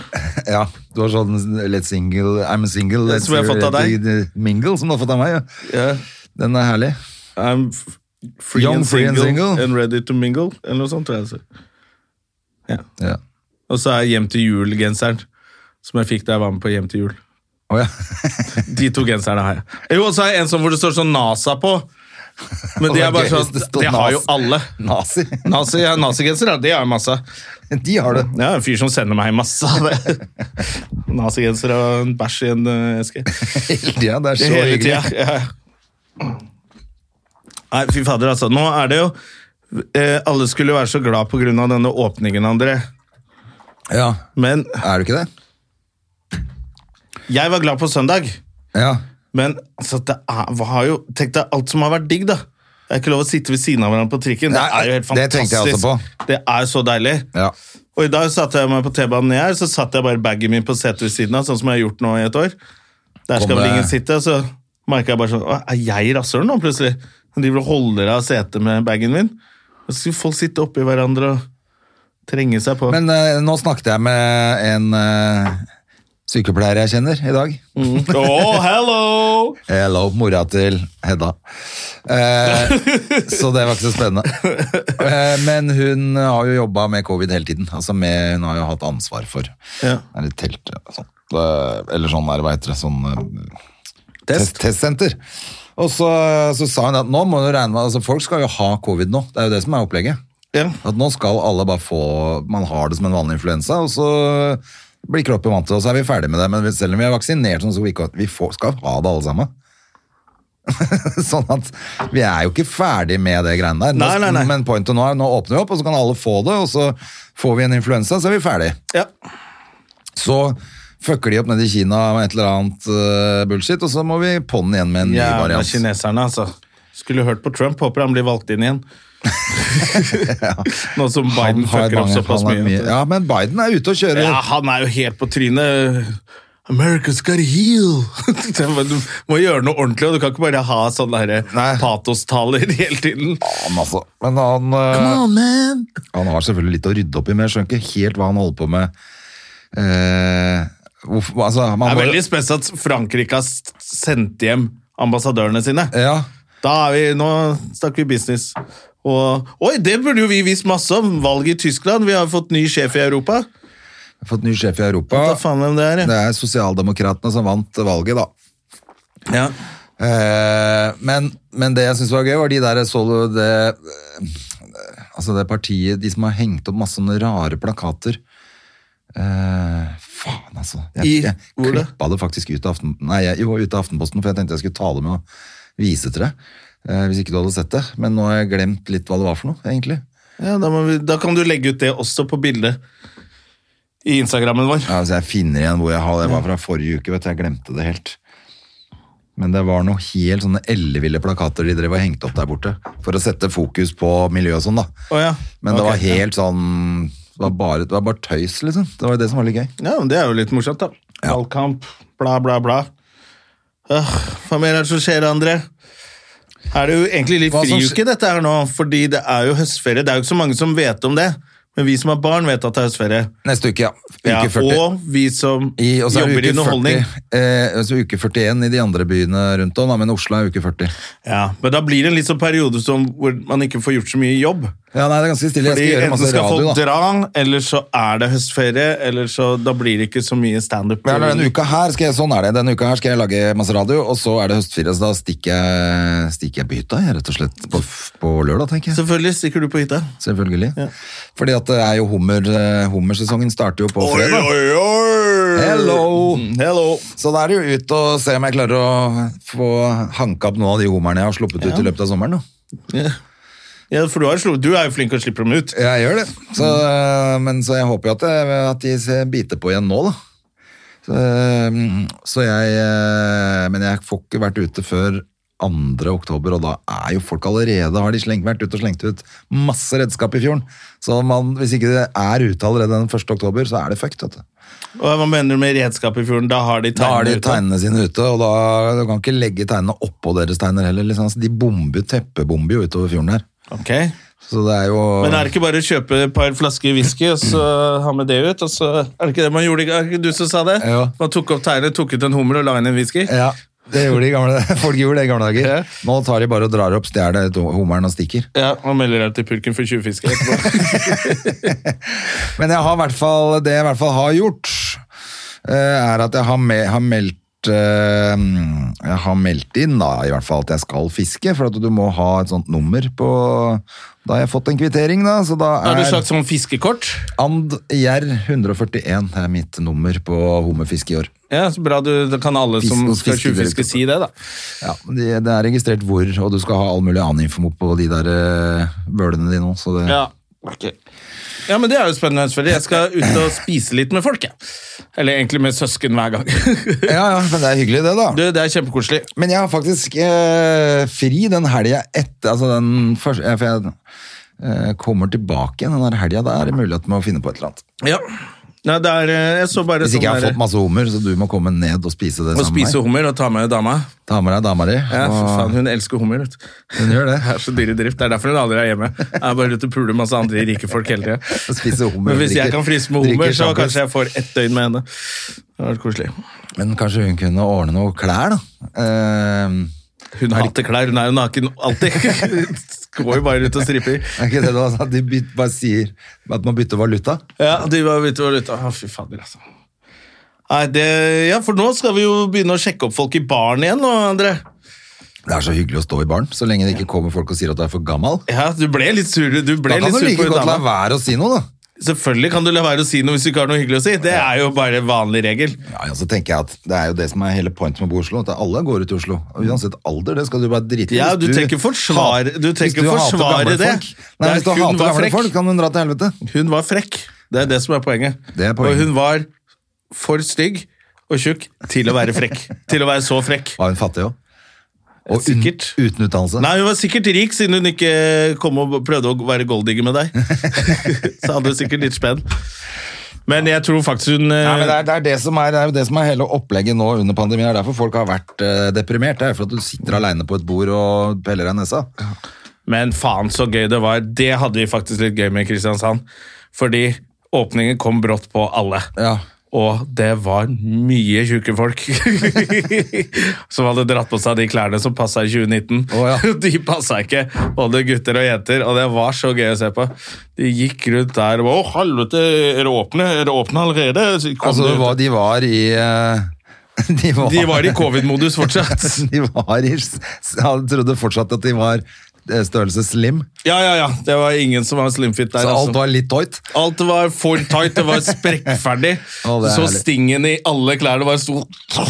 Ja, du har sånn Let's single, I'm single, let's
Som jeg har fått av deg.
mingle, som du har fått av meg. Ja.
Ja.
Den er herlig.
I'm f- free,
Young,
and,
free and
single, and
single.
ready to mingle, eller noe sånt, tror jeg. jeg sier.
Ja.
Og så er Hjem til jul-genseren, som jeg fikk da jeg var med på Hjem til jul.
Å ja.
De to genserne har jeg. Jo, og så har jeg en sånn hvor det står sånn NASA på. Men de er bare
Det er gøy hvis
sånn,
det står
det har jo
Nas.
alle.
Nazi.
Nazi, ja, Nazigenser, ja, det har jeg masse av.
De har det.
Jeg er en fyr som sender meg masse av det. Nazigenser og en bæsj i en eh, eske.
Ja, det er så
Hele tida.
hyggelig.
Ja. Nei, fy fader, altså. Nå er det jo eh, Alle skulle jo være så glad på grunn av denne åpningen, André.
Ja.
Men
Er du ikke det?
jeg var glad på søndag.
Ja.
Men altså, det er, hva har jo, tenk deg alt som har vært digg, da. Det er ikke lov å sitte ved siden av hverandre på trikken. Det
Nei,
er jo helt
det
fantastisk.
tenkte jeg også
Det er så deilig.
Ja.
Og i dag satte jeg meg på T-banen ned her, så satte jeg bare bagen min på setet ved siden av, sånn som jeg har gjort nå i et år. Der skal
Kom
vel
det-
ingen sitte, så merka jeg bare sånn «Å, Er jeg rasshøl nå, plutselig? De vil holde av setet med bagen min. Og så skulle folk sitte oppi hverandre og trenge seg på.
Men eh, nå snakket jeg med en eh, sykepleier jeg kjenner i dag.
oh, hello!
Hello, mora til Hedda. Eh, så det var ikke så spennende. Eh, men hun har jo jobba med covid hele tiden. Altså med, hun har jo hatt ansvar for
Ja.
er det telt og sånt, eh, eller sånn der, hva heter det, sånn eh, test.
Test.
testsenter. Og så, så sa hun at nå må du regne med altså Folk skal jo ha covid nå. Det er jo det som er opplegget.
Ja.
At nå skal alle bare få Man har det som en vanlig influensa, og så blir kroppen vant til det, og så er vi ferdig med det. Men selv om vi er vaksinert, sånn, så vi, ikke, vi får, skal ha det alle sammen. sånn at vi er jo ikke ferdig med det greiene der. Nå,
Nei, nei, nei.
Men pointet nå er nå åpner vi opp, og så kan alle få det, og så får vi en influensa, så er vi ferdig.
ja.
Så fucker de opp nede i Kina med et eller annet eh, bullshit, og så må vi på'n igjen med en ny
Jævla
variant.
kineserne, altså. Skulle hørt på Trump. Håper han blir valgt inn igjen. Nå som Biden
har
fucker opp
mange-
såpass
han har
mye.
Ja, men Biden er ute og kjører.
Ja, han er jo helt på trynet. America's gotta heal! du må gjøre noe ordentlig, og du kan ikke bare ha sånne her
Nei.
patostaler hele tiden.
Han, altså. Men han eh, Han har selvfølgelig litt å rydde opp i, men jeg skjønner ikke helt hva han holder på med. Eh, hvorfor, altså,
Det
man
er
må-
veldig spesielt at Frankrike har s- sendt hjem ambassadørene sine.
Ja,
Da er vi, Nå snakker vi business. Og, oi, det burde jo vi visst masse om! Valget i Tyskland. Vi har fått ny sjef i Europa.
jeg har fått ny sjef i Europa.
Hva faen hvem det er?
Det
ja.
er sosialdemokratene som vant valget, da.
Ja.
Eh, men, men det jeg syns var gøy, var de der så du det eh, Altså det partiet, de som har hengt opp masse sånne rare plakater. Eh, faen, altså.
I-
Jeg, jeg
hvor det?
klippa det faktisk ut av, Aften, nei, jeg, jo, ut av Aftenposten, for jeg tenkte jeg skulle ta det med og vise til deg. Eh, hvis ikke du hadde sett det. Men nå har jeg glemt litt hva det var for noe, egentlig.
Ja, da, må vi, da kan du legge ut det også på bildet i Instagrammen vår.
Ja, altså jeg finner igjen hvor jeg har det. Det var fra forrige uke, vet du. Jeg glemte det helt. Men det var noen helt sånne elleville plakater de drev og hengte opp der borte. For å sette fokus på miljø og sånn, da.
Å ja.
Men det
Ok,
var helt sånn det var, bare, det var bare tøys, liksom. Det var jo det som var litt gøy.
Ja, men det er jo litt morsomt, da. Valgkamp, bla, bla, bla. Øh, hva mer er det som skjer, André? Er det jo egentlig litt
Hva som
friuke, dette her nå? Fordi det er jo høstferie. Det er jo ikke så mange som vet om det. Men vi som har barn, vet at det er høstferie.
Neste uke, ja. Uke
Ja,
40.
og vi som
I, og så er det
jobber i
uke 40,
underholdning.
eh, altså uke 41 i de andre byene rundt om, da, men Oslo er uke 40.
Ja, men da blir det en litt sånn periode som, hvor man ikke får gjort så mye jobb.
Ja, nei, det er ganske stille.
Fordi
jeg skal gjøre
enten
masse
skal
radio,
folk
da.
dra, eller så er det høstferie, eller så da blir det ikke så mye standup.
Ja, eller denne uka her skal jeg, sånn er det. Denne uka her skal jeg lage masse radio, og så er det høstferie, så da stikker jeg, stikker jeg på hytta, jeg, rett og slett, på, på lørdag, tenker jeg.
Selvfølgelig stikker du på hytta.
Selvfølgelig. Fordi at det er jo hummer, eh, hummersesongen starter jo på fredag.
oi!
Hello!
Hello.
Så da er det jo ut og se om jeg klarer å få hanka opp noen av de hummerne jeg har sluppet ut i løpet av sommeren. Da.
Ja. Ja, for du, har, slo- du er jo flink til å slippe dem ut.
Jeg gjør det. Så, eh, men så jeg håper jo at, det, at de se- biter på igjen nå, da. Så, eh, så jeg eh, Men jeg får ikke vært ute før 2. oktober, og da er jo folk allerede har de slengt, vært ute og slengt ut masse redskap i fjorden. Så man, hvis ikke det er ute allerede den 1. oktober, så er det fucked. Vet du.
Og hva mener du med redskap i fjorden? Da har de
Da har
tegnene
de
ute.
tegnene sine ute, og da du kan Altså, ikke legge tegnene oppå deres tegner heller. Liksom. Så de bomber, jo- teppebomber jo utover fjorden her.
Ok.
Så det er jo
Men er det ikke bare å kjøpe et par flasker whisky og så ha med det ut? og så Er det ikke det man gjorde? Er det ikke du som sa det?
Ja.
Man tok opp teilen, tok ut en hummer og la inn en whisky?
Ja, det gjorde de i gamle Folk gjorde det i gamle dager.
Ja.
Nå tar de bare og drar opp stjeler hummeren og stikker.
Ja, Og melder deg til pulken for tjuvfiske etterpå.
Men jeg har i hvert fall, det jeg i hvert fall har gjort, eh, er at jeg har, me har meldt eh, jeg har meldt inn da, i hvert fall at jeg skal fiske, for at du må ha et sånt nummer på Da har jeg fått en kvittering, da. Så da
Da har du
er
et slags sånn fiskekort.
Andjær 141 er mitt nummer på hummerfiske i år.
Ja, så bra du, Da kan alle som
Fisk-
skal tjuvfiske,
fiskedirektoratet.
si det, da.
Ja, det, det er registrert hvor, og du skal ha all mulig annen info på de der eh, bølene dine òg, så det
Ja, ok. ja, men det er jo spennende, selvfølgelig. Jeg skal ut og spise litt med folk, jeg. Eller egentlig med søsken hver gang.
ja, ja, men det er hyggelig, det, da.
Du, det er kjempekoselig.
Men jeg har faktisk eh, fri den helga etter Altså den første ja, For jeg eh, kommer tilbake igjen den der helga. Da er det mulighet med å finne på et eller annet.
Ja. Nei, det er, eh, jeg så bare
Hvis ikke jeg har
der-
fått masse hummer, så du må komme ned og spise det
Å
sammen
spise
med meg.
hummer og ta med dama.
Ta med deg dama di.
Ja, for
og-
faen, Hun elsker hummer. vet du.
Hun gjør det.
Det er så dyr i drift. Det er derfor hun aldri er hjemme. Jeg er bare ute og puler masse andre rike folk hele tiden.
Og spiser hummer,
Men hvis jeg
drikker-
kan fryse med hummer,
drikker
så
sjampis.
kanskje jeg får ett døgn med henne. Det hadde vært koselig.
Men kanskje hun kunne ordne noe klær, da. Eh,
Hun hater klær. Hun er jo naken alltid. Hun Går jo bare ut og stripper.
er ikke det det var, at de byt, bare sier at man bytter valuta?
Ja, de var ute og lutta. Å, Fy fader, altså. Nei, det, ja, for nå skal vi jo begynne å sjekke opp folk i baren igjen nå, André.
Det er så hyggelig å stå i baren, så lenge det ikke kommer folk og sier at du er for gammel.
Ja, du ble litt sur. Du
Da
ble
kan
litt
du
sur
like
på
godt la
dama.
være å si noe, da.
Selvfølgelig kan du la være å si noe hvis du ikke har noe hyggelig å si. Det er jo bare vanlig regel.
Ja, ja, så tenker jeg at Det er jo det som er hele pointet med å bo i Oslo. At alle går ut i Oslo. Og Uansett alder, det skal du bare drite i.
Ja, du
Hvis
tenker forsvar-
hat-
du tenker
hvis hater
forsvare
gamle
det.
Folk, nei,
Det er
hvis du
kun
hater
vær
gamle
frekk.
folk, kan hun dra til helvete.
Hun var frekk. Det er det som er poenget.
Det er poenget.
Og hun var for stygg og tjukk til å være frekk. til å være så frekk.
Var hun fattig òg? Og un,
Sikkert.
uten utdannelse.
Nei, hun var sikkert rik, siden hun ikke kom og prøvde å være golddigger med deg. Så hadde hun sikkert litt spenn. Men jeg tror faktisk hun eh,
Nei, men det er, det, er det, som er, det er jo det som er hele opplegget nå under pandemien. Det er derfor folk har vært eh, deprimert. Det er for at du sitter aleine på et bord og peller deg i nesa.
Men faen så gøy det var. Det hadde vi faktisk litt gøy med i Kristiansand. Fordi åpningen kom brått på alle.
Ja.
Og det var mye tjukke folk som hadde dratt på seg de klærne som passa i 2019.
Å, ja.
De passa ikke, både gutter og jenter, og det var så gøy å se på. De gikk rundt der og bare, Å, helvete, er det åpne? Er det åpne allerede? Så kom
Altså,
de
det
ut.
var, de var i eh, de var,
de var i covid-modus fortsatt.
de var i Jeg trodde fortsatt at de var eh, størrelse slim.
Ja, ja, ja. Det var ingen som var slimfit der.
Så
altså.
alt var litt tight.
Alt var for tight, det var sprekkferdig.
Å,
Du
det er
så
herlig.
stingen i alle klærne bare sto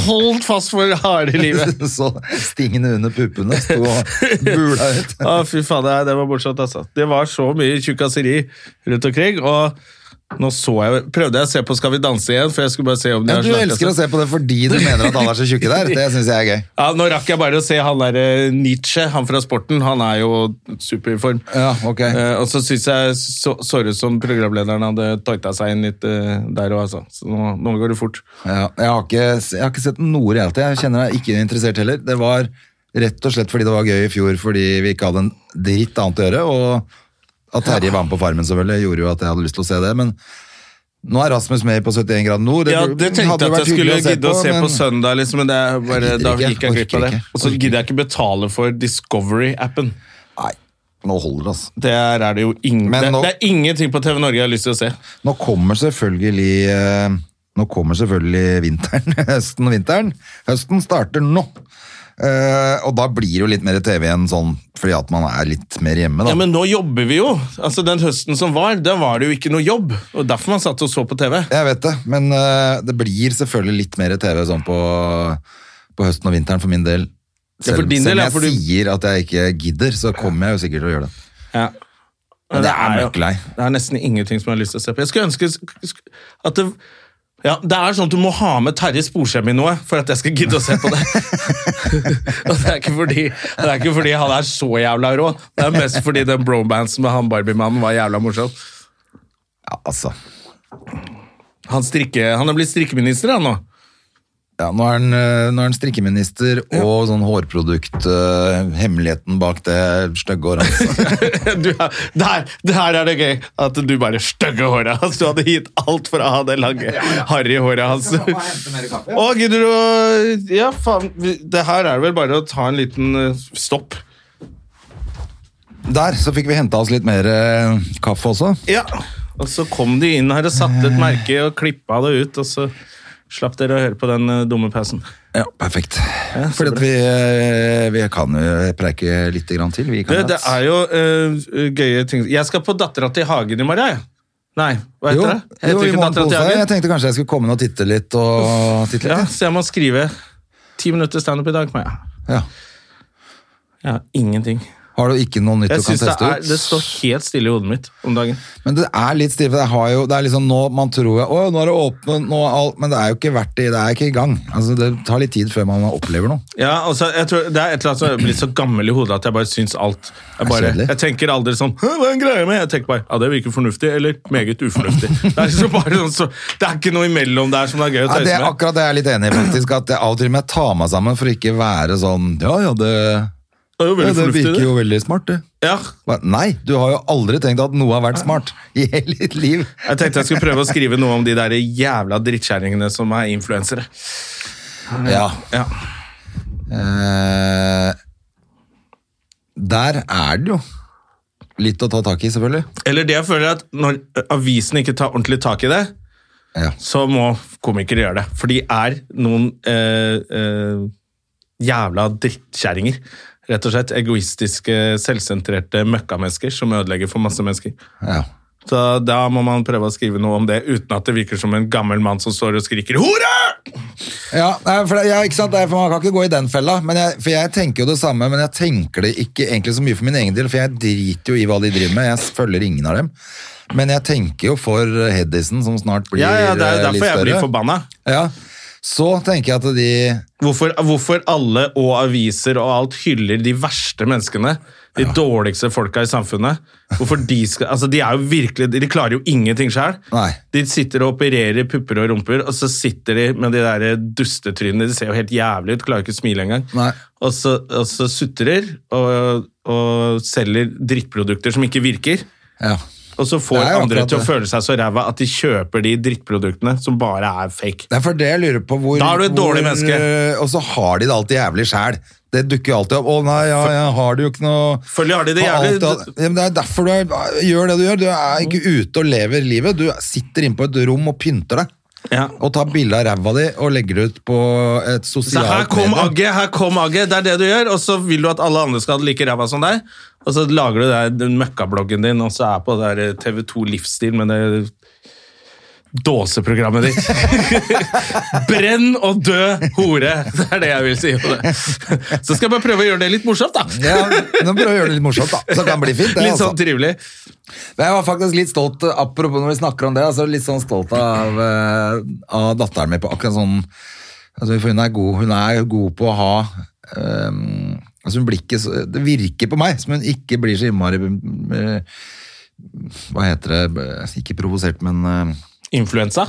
holdt fast for harde livet.
Så stingene under puppene sto og bula ut.
Å, fy faen, det, det var bortsatt, altså. Det var så mye tjukkaseri rundt omkring, og nå så jeg, prøvde jeg å se på Skal vi danse igjen, for jeg skulle bare se om de
Men
har sånn.
du
slaktet
elsker å
seg.
se på det fordi du mener at alle er så tjukke der. Det syns jeg er gøy.
Ja, nå rakk jeg bare å se han der eh, Nietzsche, han fra sporten, han er jo super i form.
Ja, ok.
Eh, og så synes jeg så så ut som programlederen hadde tighta seg inn litt eh, der også, altså. Så nå, nå går det fort.
Ja, jeg, har ikke, jeg har ikke sett noe reality. Jeg kjenner deg ikke interessert heller. Det var rett og slett fordi det var gøy i fjor fordi vi ikke hadde en dritt annet å gjøre. Og at Terje var med på Farmen selvfølgelig gjorde jo at jeg hadde lyst til å se det. Men nå er Rasmus med på 71 grader nord.
Ja, det tenkte jeg
hadde jo
at jeg
vært hyggelig
skulle gidde å se på,
men-
søndag, liksom, men det er bare,
Jeg gidder
da gikk
ikke,
jeg glipp
orker
av det.
ikke,
Og så
orker
gidder jeg ikke betale for Discovery-appen.
Nei, nå holder det, altså.
Der er det jo ingen,
Men
det,
nå-
det er ingenting på TV Norge jeg har lyst til å se.
Nå kommer selvfølgelig eh, Nå kommer selvfølgelig vinteren, høsten og vinteren. Høsten starter nå. Eh, og da blir det jo litt mer TV igjen, sånn, fordi at man er litt mer hjemme. Da.
Ja, Men nå jobber vi jo! Altså, Den høsten som var, da var det jo ikke noe jobb. Og derfor man satt og så på TV.
Jeg vet det, men eh, det blir selvfølgelig litt mer TV sånn på, på høsten og vinteren for min del.
Ja, for
Selv,
din del,
selv om
ja,
jeg
for du-
sier at jeg ikke gidder, så kommer jeg jo sikkert til å gjøre det.
Ja.
Men det er
jo-
mørkelei.
Det er nesten ingenting som jeg har lyst til å se på. Jeg skulle ønske sk- sk- at det ja, Det er sånn at du må ha med Terje Sporsem i noe for at jeg skal gidde å se på det. Og det er ikke fordi, det er ikke fordi han er så jævla rå, det er mest fordi den bromansen med han Barbie-mannen var jævla morsom.
Ja, altså.
Han, strikke, han er blitt strikkeminister, han nå.
Ja, nå er han, eh, nå er han strikkeminister og sånn hårprodukt. eh, hemmeligheten bak det stygge håret.
Du, er- der, der er det gøy at du bare stygge håret hans. Du hadde gitt alt for å ha det lange, harry håret hans. Å, gidder du å Ja, faen. vi- Det her er det vel bare å ta en liten eh, stopp.
Der så fikk vi henta oss litt mer eh, kaffe også.
Ja. Og så kom de inn her og satte et merke og klippa det ut, og så slapp dere å høre på den eh, dumme pausen.
Ja, perfekt. Fordi at vi, eh, vi kan jo preike litt grann til. Vi
Det,
kan
det er jo eh, gøye ting Jeg skal på Dattera til Hagen i morgen, jeg. Nei, hva
jo,
heter
jo,
det? Heter det
i
ikke
morgen på
Dattera til
onsdag. Jeg
Hagen?
tenkte kanskje jeg skulle komme ned og titte litt. Og titte
Ja,
litt.
så jeg må skrive ti minutter standup i dag. må jeg.
Ja.
Jeg har ingenting.
Har du ikke noe nytt
Jeg
du kan
synes det,
teste
er,
ut?
det står helt stille i hodet mitt om dagen.
Men det er litt stivt. Det, har jo, det er liksom nå man tror jeg, Å, nå er det åpnet, nå er alt Men det er jo ikke verdt det. Det er ikke i gang. Altså, det tar litt tid før man opplever noe.
Ja, altså, jeg tror Det er et eller annet som er blitt så gammel i hodet at jeg bare syns alt Jeg,
er
bare,
kjedelig.
jeg tenker aldri sånn «Hæ, Hva er en greie med? Jeg tenker bare ja, det virker fornuftig, eller meget ufornuftig. Det er liksom bare sånn, så, det er ikke noe imellom der som det er gøy å
Ja, det
tøyse
er
med.
akkurat det jeg er litt enig i, faktisk. At jeg av og til må jeg ta meg sammen for ikke være sånn Ja, ja, det,
Det er jo
ja,
veldig
det
fornuftig,
virker
det.
jo veldig smart, det.
Ja,
Hva? Nei, du har jo aldri tenkt at noe har vært smart i hele ditt liv.
jeg tenkte jeg skulle prøve å skrive noe om de der jævla drittkjerringene som er influensere.
Ja.
Ja.
Eh, der er det jo litt å ta tak i, selvfølgelig.
Eller det jeg føler at når avisen ikke tar ordentlig tak i det,
Ja.
så må komikere gjøre det. For de er noen eh, eh, jævla drittkjerringer. Rett og slett egoistiske, selvsentrerte møkkamennesker som ødelegger for masse mennesker.
ja.
Så da må man prøve å skrive noe om det uten at det virker som en gammel mann som står og skriker 'hore'!
Ja, nei, for, det- ja, ikke sant? Nei, for Man kan ikke gå i den fella. Men jeg, for jeg tenker jo det samme, men jeg tenker det ikke egentlig så mye for min egen del, for jeg driter jo i hva de driver med. Jeg følger ingen av dem. Men jeg tenker jo for Hedison, som snart blir
Ja, ja, Det er jo
eh, litt
derfor jeg
større.
blir forbanna.
Ja. Så tenker jeg at de
Hvorfor, hvorfor alle og aviser og alt hyller de verste menneskene? De dårligste folka i samfunnet. Hvorfor De skal, altså de er jo virkelig, de klarer jo ingenting sjøl.
Nei.
De sitter og opererer pupper og rumper, og så sitter de med de der dustetrynene. De ser jo helt jævlig ut, klarer ikke å smile engang.
Nei.
Og så, og så sutrer og, og selger drittprodukter som ikke virker.
Ja.
Og så får
Det er jo
andre
akkurat
til å
det.
føle seg så ræva at de kjøper de drittproduktene som bare er fake.
Det er for det jeg lurer på hvor,
Da er du et dårlig
hvor,
menneske.
øh, Og så har de det alltid jævlig sjæl. Det dukker jo alltid opp. 'Å nei, ja, jeg har det jo ikke noe
Selvfølgelig har de det
Har
jævlig-
alltid hatt- ja, men Det er derfor du er, gjør det du gjør. Du er ikke ute og lever livet. Du sitter inne på et rom og pynter deg.
Ja.
Og tar bilde av ræva di og legger det ut på et
Så
sosialt
her kom
medie.
agget, her kom agget, det er det du gjør, og så vil du at alle andre skal ha det like ræva som deg, og så lager du der den møkkabloggen din, og så er på det der TV 2 Livsstil med det dåseprogrammet ditt. Brenn og dø, hore! Det er det jeg vil si om det. Så skal jeg bare prøve å gjøre det litt morsomt, da.
Ja, nå prøver jeg å gjøre det litt morsomt, da. Så kan det bli fint. Det,
Litt sånn
altså.
trivelig.
Men jeg var faktisk litt stolt, apropos når vi snakker om det, altså litt sånn stolt av, eh, av datteren min på akkurat sånn altså, For hun er god, hun er jo god på å ha eh, altså, hun blir ikke så, Det virker på meg som hun ikke blir så innmari eh, Hva heter det? Ikke provosert, men eh,
Influensa.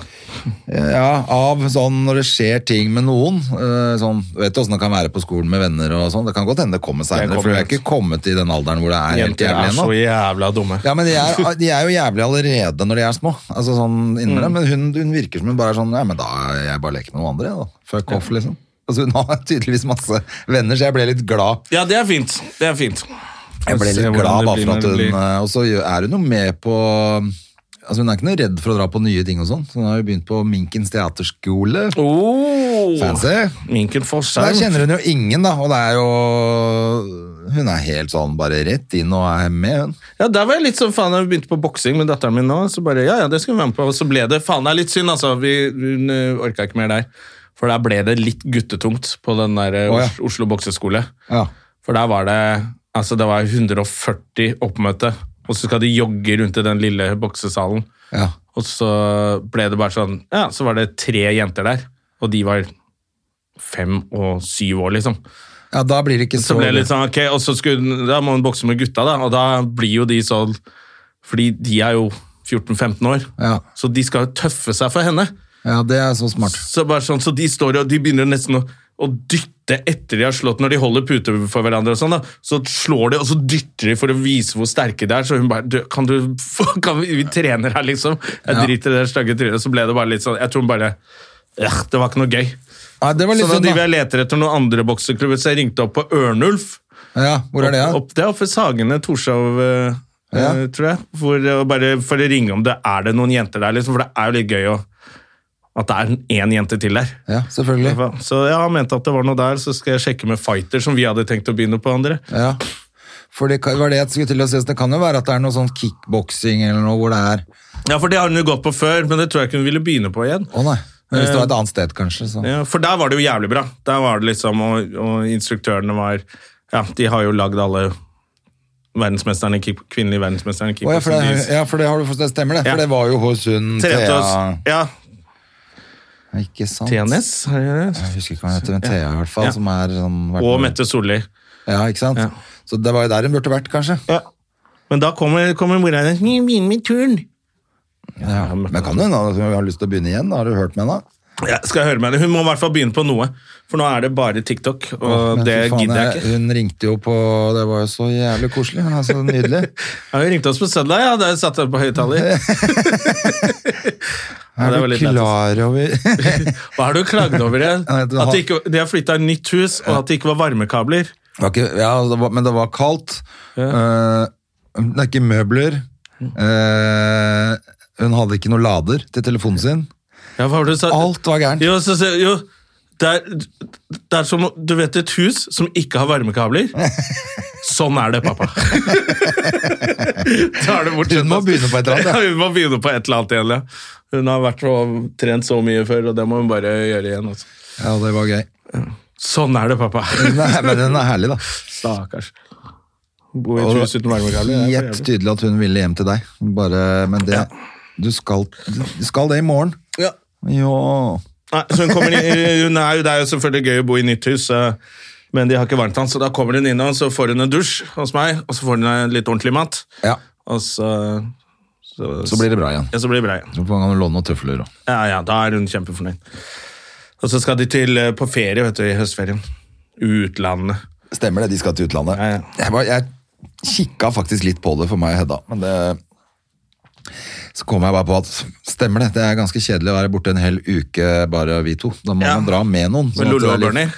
ja, av sånn når det skjer ting med noen. eh, Sånn, vet du åssen det kan være på skolen med venner og sånn. Det kan godt hende det kommer
Det
seinere,
kommer
for vi
ut.
er ikke kommet i den alderen hvor det er helt
Jenter
jævlig
er så
ennå.
jævla dumme.
Ja, men de er, de er jo jævlig allerede når de er små. Altså sånn inni
Mm.
dem. Men hun, hun virker som hun bare er sånn Ja, men da er jeg bare leker med noen andre, jeg, da. Fuck off, liksom. Altså Hun har tydeligvis masse venner, så jeg ble litt glad.
Ja, det er fint. Det er fint.
Jeg ble
Se
litt
hvordan
glad
det
bare
blir
for
når
at
det
hun
blir.
eh, Og så gjør- er hun jo med på Altså Hun er ikke noe redd for å dra på nye ting og sånn. Så Hun har jo begynt på Minkens teaterskole.
Oh,
Fancy.
Minken Forsheim.
Der kjenner hun jo ingen, da. Og det er jo Hun er helt sånn bare rett inn og er med, hun.
Ja, der var jeg litt sånn, faen, jeg begynte på boksing med datteren min nå, så bare, ja, ja, det skal vi være med på, og så ble det, faen, det er litt synd, altså, vi, hun ø, orket ikke mer der, for der ble det litt guttetungt på den der ø,
Å, ja.
Os- Oslo bokseskole,
Ja.
for der var det, altså, det var 140 oppmøte, og så skal de jogge rundt i den lille boksesalen,
ja.
og så ble det bare sånn, ja, så var det tre jenter der, og de var fem og syv år, liksom.
Ja, da blir det ikke så,
Så ble det litt sånn, ok, og så skulle, hun- da må hun bokse med gutta, da, og da blir jo de sånn Fordi de er jo 14-15 år,
Ja.
så de skal jo tøffe seg for henne.
Ja, det er så smart.
Så, bare sånn, så de står og de begynner jo nesten å, å dytte etter de har slått, når de holder puter for hverandre og sånn, da. Så slår de, og så dytter de for å vise hvor sterke de er. Så hun bare du, kan du, kan vi, vi trener her, liksom. Jeg
Ja.
driter i det stygge trynet. Så ble det bare litt sånn Jeg tror hun bare «Ugh, Det var ikke noe gøy.
Nei, det var
Så
litt
da
synd,
driver
da.
jeg og leter etter noen andre bokseklubber, så jeg ringte opp på Ørnulf.
Ja, hvor er det, da?
Opp, det er oppe ved Sagene, Torshov, eh,
Ja.
eh, tror jeg. For, å bare for å ringe om det er det noen jenter der, liksom. For det er jo litt gøy å, at det er én jente til der.
Ja, selvfølgelig.
Så jeg har ment at det var noe der, så skal jeg sjekke med Fighter, som vi hadde tenkt å begynne på, andre.
Ja. For det kan- var det jeg skulle til å si, så det kan jo være at det er noe sånn kickboksing eller noe hvor det er
Ja, for det har hun jo gått på før, men det tror jeg ikke hun ville begynne på igjen.
Å nei. Men hvis det var et annet sted, kanskje, så
Eh, Ja, for der var det jo jævlig bra. Der var det liksom, og, og instruktørene var Ja, de har jo lagd alle verdensmesterne, i kick, kvinnelige verdensmesterne i
Å, ja, for
kickboksing.
det,
De
ja, for det har du forstått, det stemmer det.
Ja.
For det var jo hos hun
trente
Thea
oss- Ja,
Ikke sant?
TNS, er det det?
Jeg husker ikke hva hun heter, men Thea i hvert fall,
Ja.
som er sånn vært-
og Mette Solli.
Ja, ikke sant?
Ja.
Så det var jo der hun burde vært, kanskje.
Men da kommer, kommer mora hennes «Vi begynner med turn.
Ja.
men-
Men kan hun da, hvis hun har lyst til å begynne igjen? da Har du hørt med henne?
Ja, skal jeg høre med henne? Hun må i hvert fall begynne på noe, for nå er det bare TikTok, og
Men
det
fy faen,
gidder jeg ikke.
Hun ringte jo på Det var jo så jævlig koselig. Ja, så nydelig.
Ja, hun ringte oss på søndag, ja. Da satt jeg på høyttaler. Ja,
Er
det var
du
litt lættis.
klar over
Hva har du klagd over det?
Nei, du
At
har-
de, ikke, de har flytta nytt hus, og at det ikke var varmekabler.
Det var ikke, ja, det var, men det var kaldt. Eh, det er ikke møbler. Eh, hun hadde ikke noe lader til telefonen sin.
Ja, hva var det du sa?
Alt var gærent.
Jo, så, så, jo det, er, det er som Du vet et hus som ikke har varmekabler? Sånn er det, pappa. Da er det bortsett,
Hun må
ass.
begynne på et eller annet, ja.
Ja, hun må begynne på et eller annet igjen, ja. Hun har vært og trent så mye før, og det må hun bare gjøre igjen. Altså.
Ja, det var gøy.
Sånn er det, pappa.
Nei, men hun er herlig, da.
Stakkars. Bo i
Og
et
det
hus uten varmekabler.
var
det er for
Helt
jævlig.
tydelig at hun ville hjem til deg. Bare, men det, du, skal, du skal det i morgen.
Ja.
Jo.
Nei, så hun kommer inn, hun er jo, det er jo selvfølgelig gøy å bo i nytt hus, eh, men de har ikke varmt han, så da kommer hun innom, så får hun en dusj hos meg, og så får hun eh, litt ordentlig mat,
Ja,
og så... Så,
så blir det bra igjen.
Ja, så blir det bra igjen.
Så kan du låne noen tøfler. og-
Ja, ja, da er hun kjempefornøyd. Og så skal de til eh, på ferie, vet du, i høstferien. Utlandet.
Stemmer det, de skal til utlandet.
Ja, ja.
Jeg, var, jeg kikka faktisk litt på det for meg og Hedda, men det Så kom jeg bare på at stemmer det, det er ganske kjedelig å være borte en hel uke bare vi to. Da må
Ja.
man dra med noen. sånn
Med
at det
Lolo
er
og
litt-
Bernie.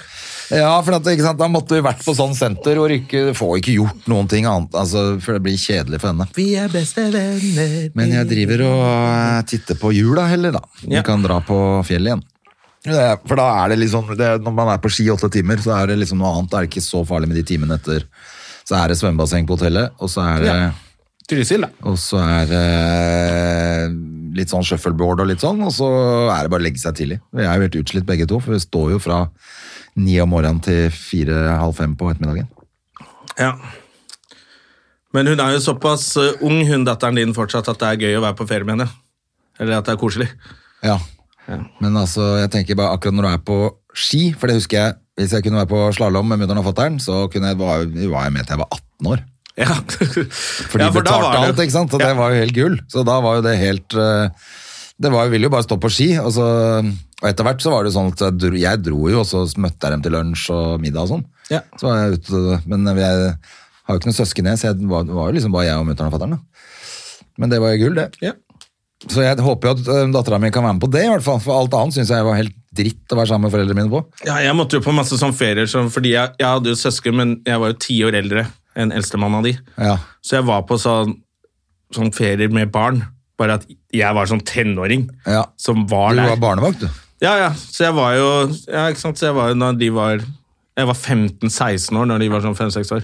Ja, for at, ikke sant, da måtte vi vært på sånn senter hvor ikke, får ikke gjort noen ting annet, altså, for det blir kjedelig for henne.
Vi er beste venner.
Men jeg driver og eh, titter på jula heller, da. Vi
Ja.
kan dra på fjellet igjen. Det er- For da er det liksom det, Når man er på ski åtte timer, så er det liksom noe annet. Da er det ikke så farlig med de timene etter. Så er det svømmebasseng på hotellet, og så er det,
Ja. Trysil, da.
og så er det litt sånn shuffleboard og litt sånn, og så er det bare å legge seg tidlig. Vi er jo helt utslitt begge to, for vi står jo fra ni om morgenen til fire-halv fem på ettermiddagen.
Ja. Men hun er jo såpass eh, ung, hun datteren din, fortsatt, at det er gøy å være på ferie med henne. Eller at det er koselig.
Ja. Men altså, jeg tenker bare akkurat når du er på ski, for det husker jeg, hvis jeg kunne være på slalåm med mutter'n og fatter'n, så kunne jeg, var, var jeg med til jeg var 18 år.
Ja,
For de
Ja, da
betalte
var det-
alt, ikke sant? Så det var jo helt gull. Så da var jo det helt eh, Det var, ville jo bare stå på ski. Og, så, og etter hvert så var det jo sånn at jeg dro, jeg dro jo, og så møtte jeg dem til lunsj og middag og sånn.
Ja.
Så var jeg ute, men jeg har jo ikke noen søsken, jeg, så jeg var, det var jo liksom bare jeg og mutter'n og fatter'n. da. Men det var jo gull, det.
Ja.
Så jeg håper jo at dattera mi kan være med på det, i hvert fall. For alt annet syns jeg var helt dritt å være sammen med foreldrene mine på.
Ja, jeg måtte jo på masse sånn ferier, sånn, fordi jeg, jeg hadde jo søsken, men jeg var jo ti år eldre enn eldstemann av de.
Ja.
Så jeg var på sånn, sånn ferier med barn, bare at jeg var sånn tenåring
Ja.
som var
Du
der.
var barnevakt, du.
Ja, ja, så jeg var jo, ja, ikke sant, så jeg var jo da de var, jeg var 15-16 år når de var sånn 5-6 år.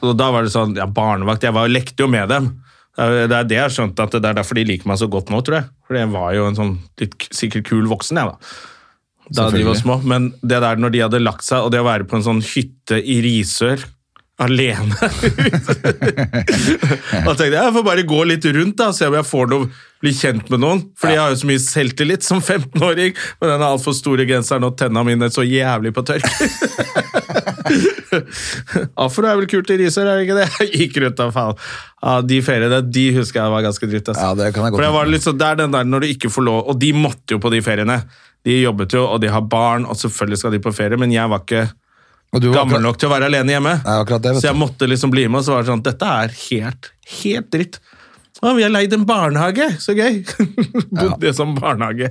Og da var det sånn, ja, barnevakt, jeg var, lekte jo med dem. Det er det er det jeg har skjønt, at det er derfor de liker meg så godt nå, tror jeg. For jeg var jo en sånn litt k- sikkert kul voksen, jeg da. Da de var
Selvfølgelig.
små, men det der når de hadde lagt seg, og det å være på en sånn hytte i Risør, alene ut. da tenkte jeg jeg får bare gå litt rundt da, se om jeg får noe, bli kjent med noen. Fordi jeg har jo så mye selvtillit som 15-åring, med den altfor store genseren og tenna mine så jævlig på tørk. Afro er vel kult i Risør, er det ikke det? Jeg Gikk rundt da, faen. Ja, de feriene, de husker jeg var ganske dritt. ass.
Ja, det kan jeg godt
For det var litt sånn, det er den der når du ikke får lov, og de måtte jo på de feriene. De jobbet jo, og de har barn, og selvfølgelig skal de på ferie, men jeg var ikke
Og du var
gammel
akkurat-
nok til å være alene hjemme.
Nei, akkurat det, vet
så jeg måtte liksom bli med, og så var det sånn Dette er helt, helt dritt. Å, vi har leid en barnehage! Så gøy! Bodde som barnehage.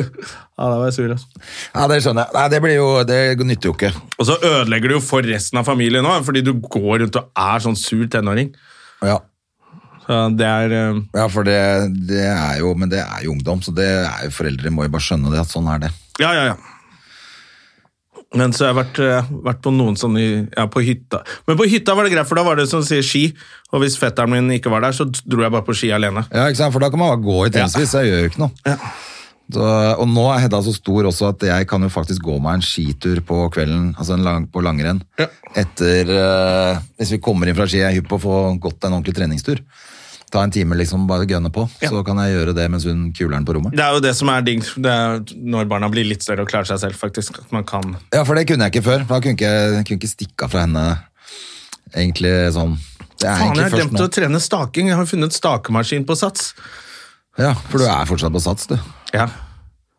ja, da var jeg sur, altså.
Ja, det skjønner jeg. Nei, det blir jo Det nytter jo ikke.
Og så ødelegger du jo for resten av familien òg, fordi du går rundt og er sånn sur tenåring.
Ja,
Så det er eh,
ja for det, det er jo Men det er jo ungdom, så det er jo foreldre må jo bare skjønne det at sånn er det.
Ja, ja, ja. Men så har jeg vært, eh, vært på noen sånne i- Ja, på hytta. Men på hytta var det greit, for da var det som sier ski. Og hvis fetteren min ikke var der, så dro jeg bare på ski alene.
Ja, ikke sant? For da kan man bare gå i timevis. Jeg gjør jo ikke noe. Så, og nå er Hedda så stor også at jeg kan jo faktisk gå meg en skitur på kvelden, altså en lang, på langrenn,
Ja.
etter eh, Hvis vi kommer inn fra ski, jeg er hypp på å få gått en ordentlig treningstur. Ta en time, liksom, bare gønne på. Så kan jeg gjøre det mens hun kuler'n på rommet.
Det er jo det som er digg det er når barna blir litt større og klarer seg selv, faktisk. At man kan
Ja, for det kunne jeg ikke før. for Da kunne ikke, jeg kunne ikke stikke av fra henne egentlig sånn.
Faen,
Det er
jeg har
egentlig
glemt å
først nå.
trene staking. Jeg har funnet stakemaskin på Sats.
Ja, for du er fortsatt på sats, du.
Ja.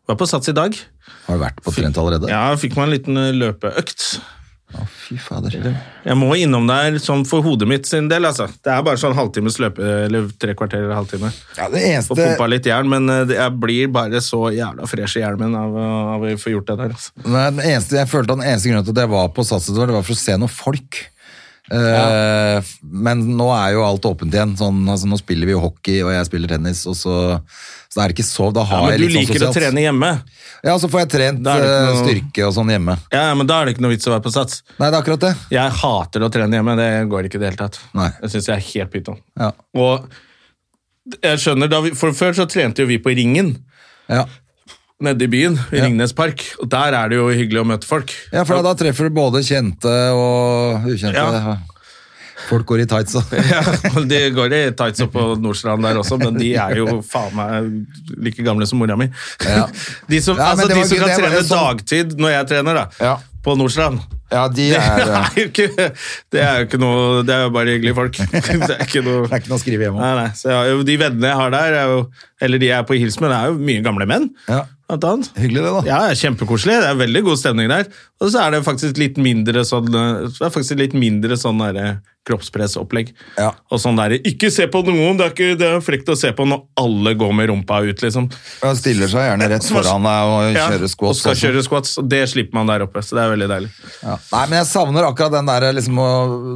Var på Sats i dag.
Har vært på trent allerede.
Ja, fikk meg en liten eh, løpeøkt.
Å, fy fader.
Jeg må innom der sånn for hodet mitt sin del, altså. Det er bare sånn halvtimes løpe, eller tre kvarter eller halvtime.
Ja, det
Får
eneste
pumpa litt jern, men eh, det- jeg blir bare så jævla fresh i hjelmen av, å- av å få gjort det der. Altså.
Nei, den eneste, jeg følte den eneste grunnen til at jeg var på Satset, det var for å se noen folk. Eh, f- Men nå er jo alt åpent igjen. Sånn, altså, nå spiller vi jo hockey, og jeg spiller tennis, og så, så det er ikke så Da
Ja,
har
men
jeg
du
litt sånn
liker å
sosialt.
trene hjemme.
Ja, så får jeg trent
Da er det ikke
eh,
noe-
styrke og sånn hjemme.
Ja, ja, men da er det ikke noe vits å være på Sats.
Nei, det er akkurat det.
Jeg hater å trene hjemme, det går ikke i det hele tatt.
Nei.
Det syns jeg er helt pyton.
Ja.
Og jeg skjønner, da vi, for før så trente jo vi på Ringen.
Ja,
Nede i byen, i
Ja.
Ringnes park. Og der er det jo hyggelig å møte folk.
ja for da, da treffer du både kjente og ukjente.
Ja.
Folk går i tights og
Ja, De går i tights opp på Nordstrand der også, men de er jo faen meg like gamle som mora mi.
Ja.
De som,
Ja,
altså,
men det
de
var
som
gøy,
kan
det var
trene
jo sånn-
dagtid når jeg trener, da,
Ja.
på Nordstrand
Ja, de
det
er eh,
er, jo ikke, det er jo ikke noe Det er jo bare hyggelige folk. Det er ikke noe,
Det er ikke noe å skrive hjem om.
Nei, nei. Så jeg, har jo- de vennene jeg har der, er jo, eller de jeg er på hils med, det er jo mye gamle menn.
Ja.
Blant annet.
Hyggelig det, da.
Ja, det er kjempekoselig. Det er veldig god stemning der. Og så er det faktisk litt mindre sånn, eh, det er faktisk litt mindre sånn der, eh, kroppspressopplegg.
Ja.
Og sånn derre Ikke se på noen! Det er, ikke, det er frekt å se på når alle går med rumpa ut, liksom.
Ja, Stiller seg gjerne rett foran deg og
Ja,
kjører
og
squats.
skal
også.
kjøre squats, og det slipper man der oppe. Så det er veldig deilig.
Ja. Nei, men jeg savner akkurat den der liksom, å,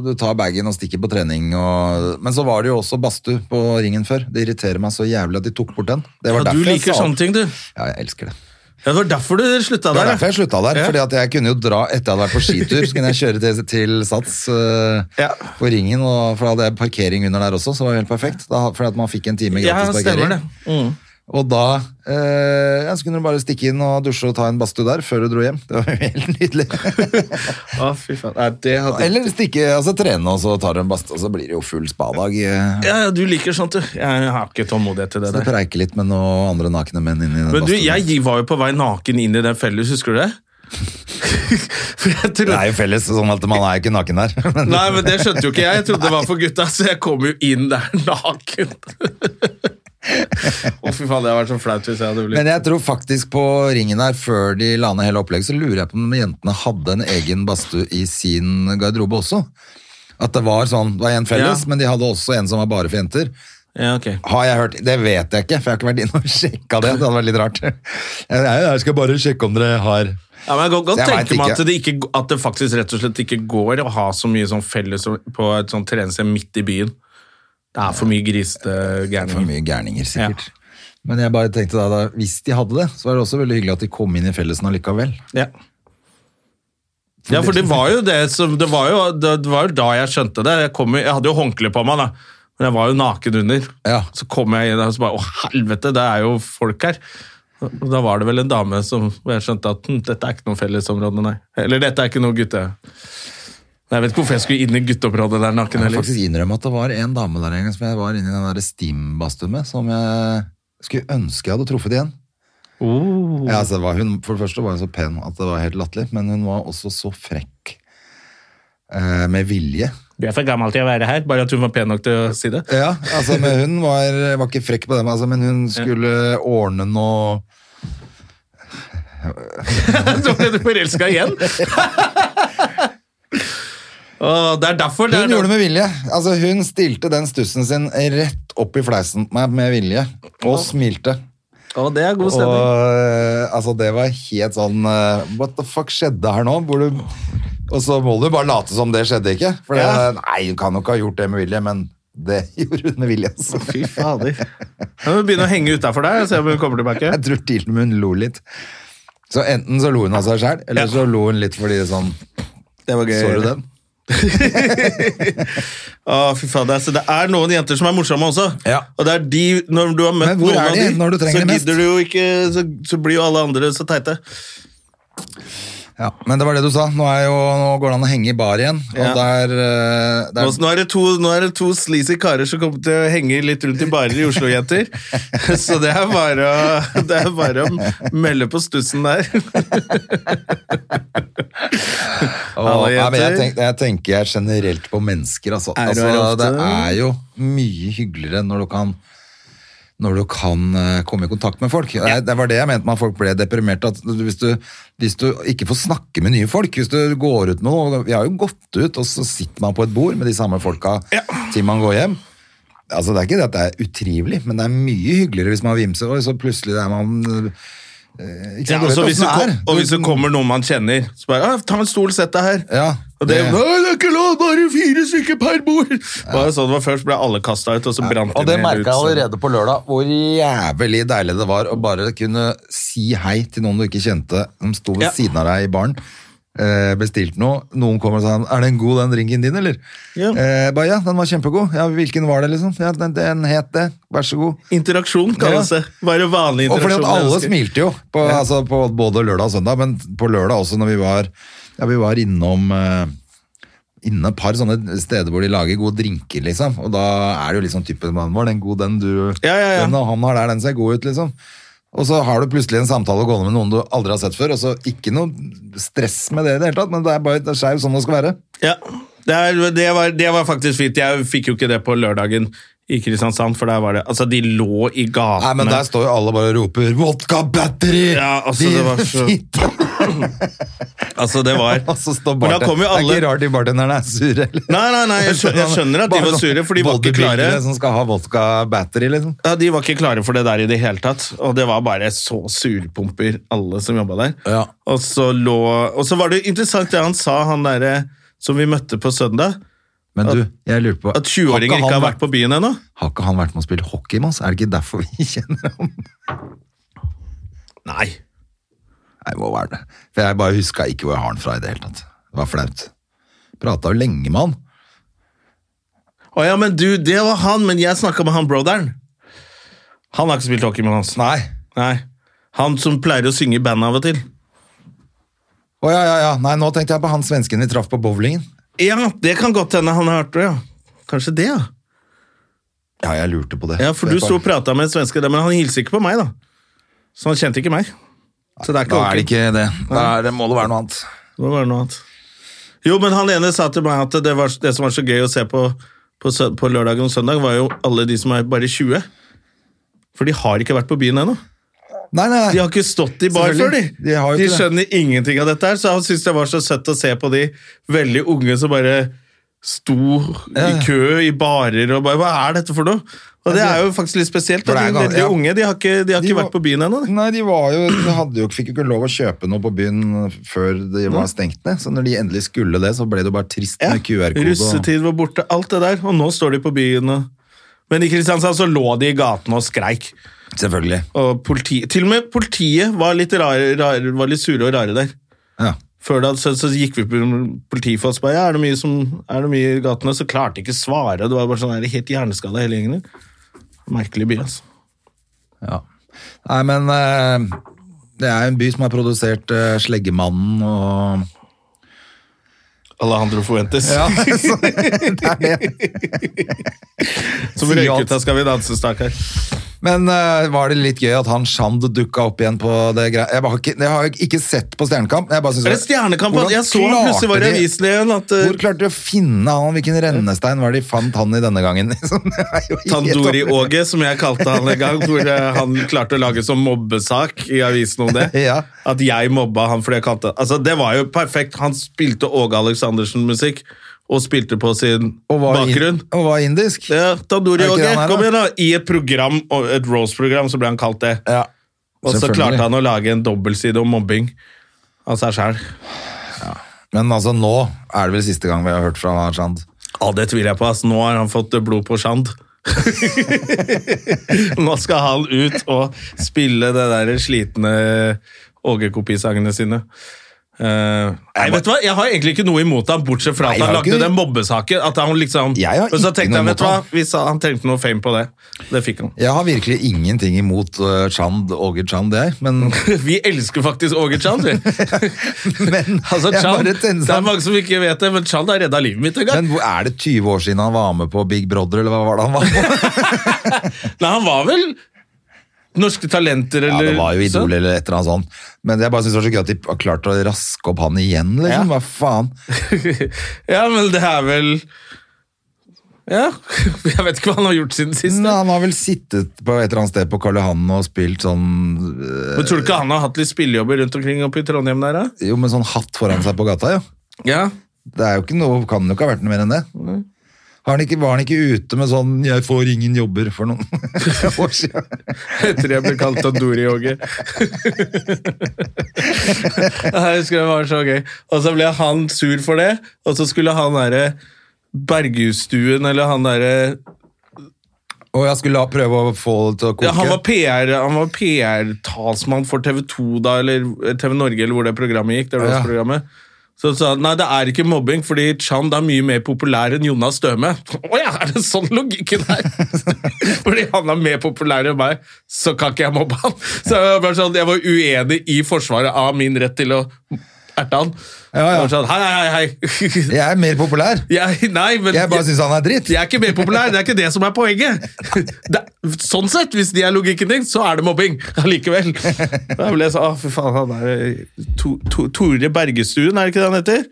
Du tar bagen og stikker på trening og, Men så var det jo også badstue på ringen før Det irriterer meg så jævlig at de tok bort den Det var
Ja, du
derfor jeg
liker
sa-
sånne ting, du.
Ja, jeg elsker det Det
Ja, det var derfor du slutta
var
der.
derfor jeg slutta der
Ja.
Fordi at jeg kunne jo dra etter jeg hadde vært på skitur Så kunne jeg kjøre til, til Sats eh,
Ja.
På ringen og, For da hadde jeg parkering under der også Så det var helt perfekt da, Fordi at man fikk en time
Ja,
gratis
stemmer
parkering
det. Mm.
Og da eh, ja, Så kunne du bare stikke inn og dusje og ta en badstue der Før du dro hjem Det var jo helt nydelig
Å, fy faen. Nei, det hadde
Eller stikke, altså trene og så tar du en badstue, og så blir det jo full spadag. eh.
ja, ja, du liker sånt, du. Jeg har ikke tålmodighet til det
Så du
der.
preiker litt med noen andre nakne menn inni den
Men du,
badstuen.
jeg var jo på vei naken inn i den felles, husker du det? For jeg
Det
trodde
er jo felles, sånn at man er jo ikke naken der. Men,
Nei, men det skjønte jo ikke jeg. Jeg trodde det var for gutta, så jeg kom jo inn der naken. Å, fy faen, det hadde vært så flaut hvis jeg hadde blitt
men jeg tror faktisk på ringen her, før de la ned hele opplegget, så lurer jeg på om jentene hadde en egen badstue i sin garderobe også. At det var sånn, det var en felles,
Ja.
men de hadde også en som var bare for jenter.
Ja, ok.
Har jeg hørt, det vet jeg ikke, for jeg har ikke vært inne og sjekka det. Det hadde vært litt rart. Jeg, jeg skal bare sjekke om dere har
Ja, men jeg kan godt
Jeg vet
tenke meg at
ikke.
det, ikke, at det faktisk rett og slett ikke går å ha så mye sånn felles på et sånt treningssted midt i byen. Det er for mye grisete
For
gærninger.
mye gærninger, sikkert. Men jeg bare tenkte da, da, hvis de hadde det, så var det også veldig hyggelig at de kom inn i fellesen allikevel.
Ja. ja, for det var jo det som Det var jo, det var jo da jeg skjønte det. Jeg, kom, jo- jeg hadde jo håndkle på meg, da. Men jeg var jo naken under.
Ja.
Så kom jeg inn og så bare Å, helvete, det er jo folk her. Og da var det vel en dame som og jeg skjønte at hm, dette er ikke noe fellesområde, nei. Eller dette er ikke noe gutte... Jeg vet ikke hvorfor jeg skulle inn i gutteområdet der naken
Jeg må
heller.
faktisk innrømme at det var en dame der en gang som jeg var inne i den der steam-badstuen med, som jeg skulle ønske jeg hadde truffet igjen.
Oh.
Ja, altså, det var hun, for det første var hun så pen at det var helt latterlig, men hun var også så frekk eh, med vilje.
Du er for gammel til å være her, bare at hun var pen nok til å si det.
Ja, altså, men hun var, var ikke frekk på det, men altså, men hun skulle ordne noe
Så ble du forelska igjen! Å, det er derfor det
Hun
er
gjorde det med vilje. Altså, hun stilte den stussen sin rett opp i fleisen på meg med vilje, og smilte.
Å, det er god
Og
stemning.
eh, altså, det var helt sånn eh, What the fuck skjedde her nå? Hvor du, og så må du bare late som det skjedde ikke. For det,
Ja.
nei, hun kan jo ikke ha gjort det med vilje, men det gjorde hun med vilje. Altså.
Fy fader. Jeg må begynne å henge utafor der og se om hun kommer tilbake.
Jeg tror til og med hun lo litt. Så enten så lo hun av seg sjæl, eller så lo hun litt fordi sånn
Det var
Så du den?
Å, fy fader. Altså, det er noen jenter som er morsomme også.
Ja.
Og det er de, når du har møtt
Men hvor
noen
er
av
de når du trenger
så
de mest?
gidder du jo ikke så, så blir jo alle andre så teite.
Ja, men det var det du sa. Nå, er jo, nå går det an å henge i bar igjen. Og
Ja.
der, eh,
Nå,
der
nå er det to, nå er det to sleazy karer som kommer til å henge litt rundt i barer i Oslo, jenter. Så det er bare å, det er bare å melde på stussen der.
Åh,
Alle
nei, men jeg,
jenter.
tenk, jeg tenker jeg generelt på mennesker, altså.
Er du
altså
her
det
ofte?
er jo mye hyggeligere når du kan når du kan eh, komme i kontakt med folk. Jeg- Det var det jeg mente med at folk ble deprimerte. At du- hvis du, hvis du ikke får snakke med nye folk Hvis du går ut med noe Vi har jo gått ut, og så sitter man på et bord med de samme folka til man går hjem. Altså, det er ikke det at det er utrivelig, men det er mye hyggeligere hvis man vimser, og så plutselig er man eh, ikke sant,
Ja,
du vet
altså, hvis
hvordan
du
det
kom,
er.
og hvis det kommer noen man kjenner, så bare «Ah, 'ta en stol, sett deg her'.
Ja,
Og det,
det-
Nei, det er ikke lov, bare fire stykker per bord! Bare sånn det var Først ble alle kasta ut, og så brant
Og det
ned
merka
ut,
jeg
så-
allerede på lørdag, hvor jævlig deilig det var å bare kunne si hei til noen du ikke kjente, som sto
Ja.
ved siden av deg i baren. eh, Bestilte noe. Noen kommer og sa 'Er den god, den drinken din', eller?
Ja.
Eh, bare, ja, den var kjempegod. Ja, hvilken var det, liksom? Ja, den, den het det. Vær så god.
Interaksjon kalles
Ja.
det. Bare vanlig
Og fordi
interaksjon.
at alle
mennesker.
smilte jo, på, altså på både lørdag og søndag, men på lørdag også når vi var, ja, vi var innom eh, inne et par sånne steder hvor de lager gode drinker, liksom. Og da er det jo liksom typen mann var den god, den du
Ja, ja, ja.
Den og han har der, den ser god ut, liksom. Og så har du plutselig en samtale gående med noen du aldri har sett før, og så ikke noe stress med det i det hele tatt, men det er bare det er skjev sånn det skal være.
Ja, det, er, det, var, det var faktisk fint. Jeg fikk jo ikke det på lørdagen i Kristiansand, for der var det Altså, de lå i
Nei, men
gatene.
der står jo alle bare og roper 'Vodka battery!'
Ja, altså, det var så- Altså, det var
Og så står
Men da kom jo
bartenderen. Det er
alle
ikke rart de bartenderne er sure. Eller?
Nei, nei, nei, jeg skjønner, jeg skjønner at de var sure, for de var ikke klare.
sånn Bodybuildere som skal ha vodka battery, liksom.
Ja, De var ikke klare for det der i det hele tatt. Og det var bare så surpumper, alle som jobba der.
Ja.
Og så lå Og så var det interessant det han sa, han derre som vi møtte på søndag.
Men du, jeg lurer på
At 20-åringer
han
ikke har vært på byen ennå.
Har ikke han vært med og spilt hockey med oss? Er det ikke derfor vi kjenner ham?
Nei.
Nei, må være det. For jeg bare huska ikke hvor jeg har han fra i det hele tatt. Det var flaut. Prata jo lenge med han.
Å ja, men du, det var han, men jeg snakka med han broderen. Han har ikke spilt hockey med oss.
Nei.
Nei. Han som pleier å synge i band av og til.
Å ja, ja, ja. Nei, nå tenkte jeg på han svensken vi traff på bowlingen.
Ja, det kan godt hende han har hørt det, ja. Kanskje det, ja.
Ja, jeg lurte på det.
Ja, For du sto og prata med en svenske, der, men han hilser ikke på meg, da. Så han kjente ikke meg. Så det er ikke
Da er det
hockey.
ikke det. Da er det, må det være noe annet.
Det må være noe annet. Jo, men han ene sa til meg at det, var, det som var så gøy å se på, på, sø- på lørdag og søndag, var jo alle de som er bare 20. For de har ikke vært på byen ennå.
Nei, nei,
De
nei.
har ikke stått i bar før, de.
Selvfølgelig. De har jo ikke det.
skjønner ingenting av dette her, så han syntes det var så søtt å se på de veldig unge som bare sto i
ja.
kø i barer og bare Hva er dette for noe? Og det er jo faktisk litt spesielt.
For
Da. De
det er
er
gans-
veldig
ja.
unge, de har ikke, de har
De
ikke
var-
vært på byen ennå. de.
Nei, de var jo, de hadde jo, fikk jo ikke lov å kjøpe noe på byen før de var stengt ned. Så når de endelig skulle det, så ble det jo bare trist
Ja.
med QR-kode. og-
Russetid var borte, alt det der. Og nå står de på byen og Men i Kristiansand så lå de i gatene og skreik.
Selvfølgelig.
Og politi, til og med politiet var litt, rare, rare, var litt sure og rare der.
Ja.
Før da så, så gikk vi på politifolk og så bare ja, er det mye, som, er det mye i gatene? Så klarte de ikke å svare. Det var bare sånn, er det helt hjerneskada hele gjengen din? Merkelig by, altså.
ja. Nei, men eh, det er en by som har produsert eh, Sleggemannen og
Alejandro Fuentes.
Ja, så, det er det.
Som
sier
røyk
alt.
ut av Skal vi danse, stakkar.
Men eh, var det litt gøy at han Shand dukka opp igjen på det greia? Jeg, bare har ikke- jeg har ikke sett på Stjernekamp. Jeg bare synes
Er det Stjernekamp?
Hvordan
Jeg så han plutselig var i
klarte de-
avisen igjen at eh,
Hvor klarte de å finne han? Hvilken rennestein var det de fant han i denne gangen? Liksom, det er jo helt
Tandori
opp-
Åge, som jeg kalte han en gang, hvor eh, han klarte å lage sånn mobbesak i avisen om det.
Ja.
At jeg mobba han fordi jeg kalte Altså, det var jo perfekt. Han spilte Åge Aleksandersen-musikk, og spilte på sin
Og var in-
bakgrunn.
Og var indisk?
Ja, Tandori
Er ikke
Åge,
han her,
kom
da?
igjen, da! I et program, og et Rose-program, så ble han kalt det.
Ja,
Og så
selvfølgelig.
klarte han å lage en dobbeltside om mobbing av seg sjæl.
Men altså, nå er det vel siste gang vi har hørt fra Shand.
Ja, det tviler jeg på. ass. Nå har han fått blod på Shand. Nå skal han ut og spille det der slitne Åge-kopisangene sine. Eh, nei, vet du hva? Jeg har egentlig ikke noe imot ham, bortsett fra at
Nei, jeg
han
har
lagde
ikke-
den mobbesaken. At han liksom...
Jeg har
Men så
ikke
tenkte
noe
jeg, vet du
imot
hva?
ham.
Hvis han, han trengte noe fame på det, det fikk han.
Jeg har virkelig ingenting imot eh, Chand, Åge Chand, jeg, men,
Vi elsker faktisk Åge Chand. vi.
men
Altså,
jeg
Chand,
bare
det
tenner
er mange som ikke vet det, men Chand har redda livet mitt en gang.
Men hvor- er det 20 år siden han var med på Big Brother, eller hva var det han var på?
Nei, han var vel Norske Talenter
Ja,
eller
det var jo
sånn.
Idol eller et eller annet sånt. Men jeg bare synes det var så gøy at de har klart å raske opp han igjen, liksom. Hva faen?
ja, men det er vel Ja. Jeg vet ikke hva han har gjort siden sist.
Men
da.
han har vel sittet på et eller annet sted på Karl Johan og spilt sånn,
Men Tror du ikke han har hatt litt spillejobber rundt omkring oppe i Trondheim der, da?
eh, jo, med sånn hatt foran seg på gata, jo.
Ja.
Det er jo ikke noe, kan jo ikke ha vært noe mer enn det. Har han ikke, var han ikke ute med sånn 'jeg får ingen jobber' for noen år siden?
Etter jeg ble kalt Tandori-Åge. jeg husker det var så gøy. Og så ble han sur for det, og så skulle han derre Berghusstuen eller han derre
Og jeg skulle la prøve å få det til å koke.
ja, Han var PR Han var PR-talsmann for TV 2 da, eller TV Norge, eller hvor det programmet gikk. Det var
Ja.
programmet. Så sa han nei, det er ikke mobbing, fordi Chand er mye mer populær enn Jonas Støme. Å ja, er det sånn logikken er? fordi han er mer populær enn meg, så kan ikke jeg mobbe han. Så jeg var, bare sånn, jeg var uenig i forsvaret av min rett til å erte han.
Ja, ja.
Jeg var Sånn, hei, hei, hei.
Jeg er mer populær.
Jeg, nei, men
Jeg bare syns han er dritt.
jeg er ikke mer populær, det er ikke det som er poenget. Det, sånn sett, hvis det er logikken din, så er det mobbing allikevel. Da ble jeg så, ah, fy faen, han der to, to, Tore Bergestuen, er det ikke det han heter?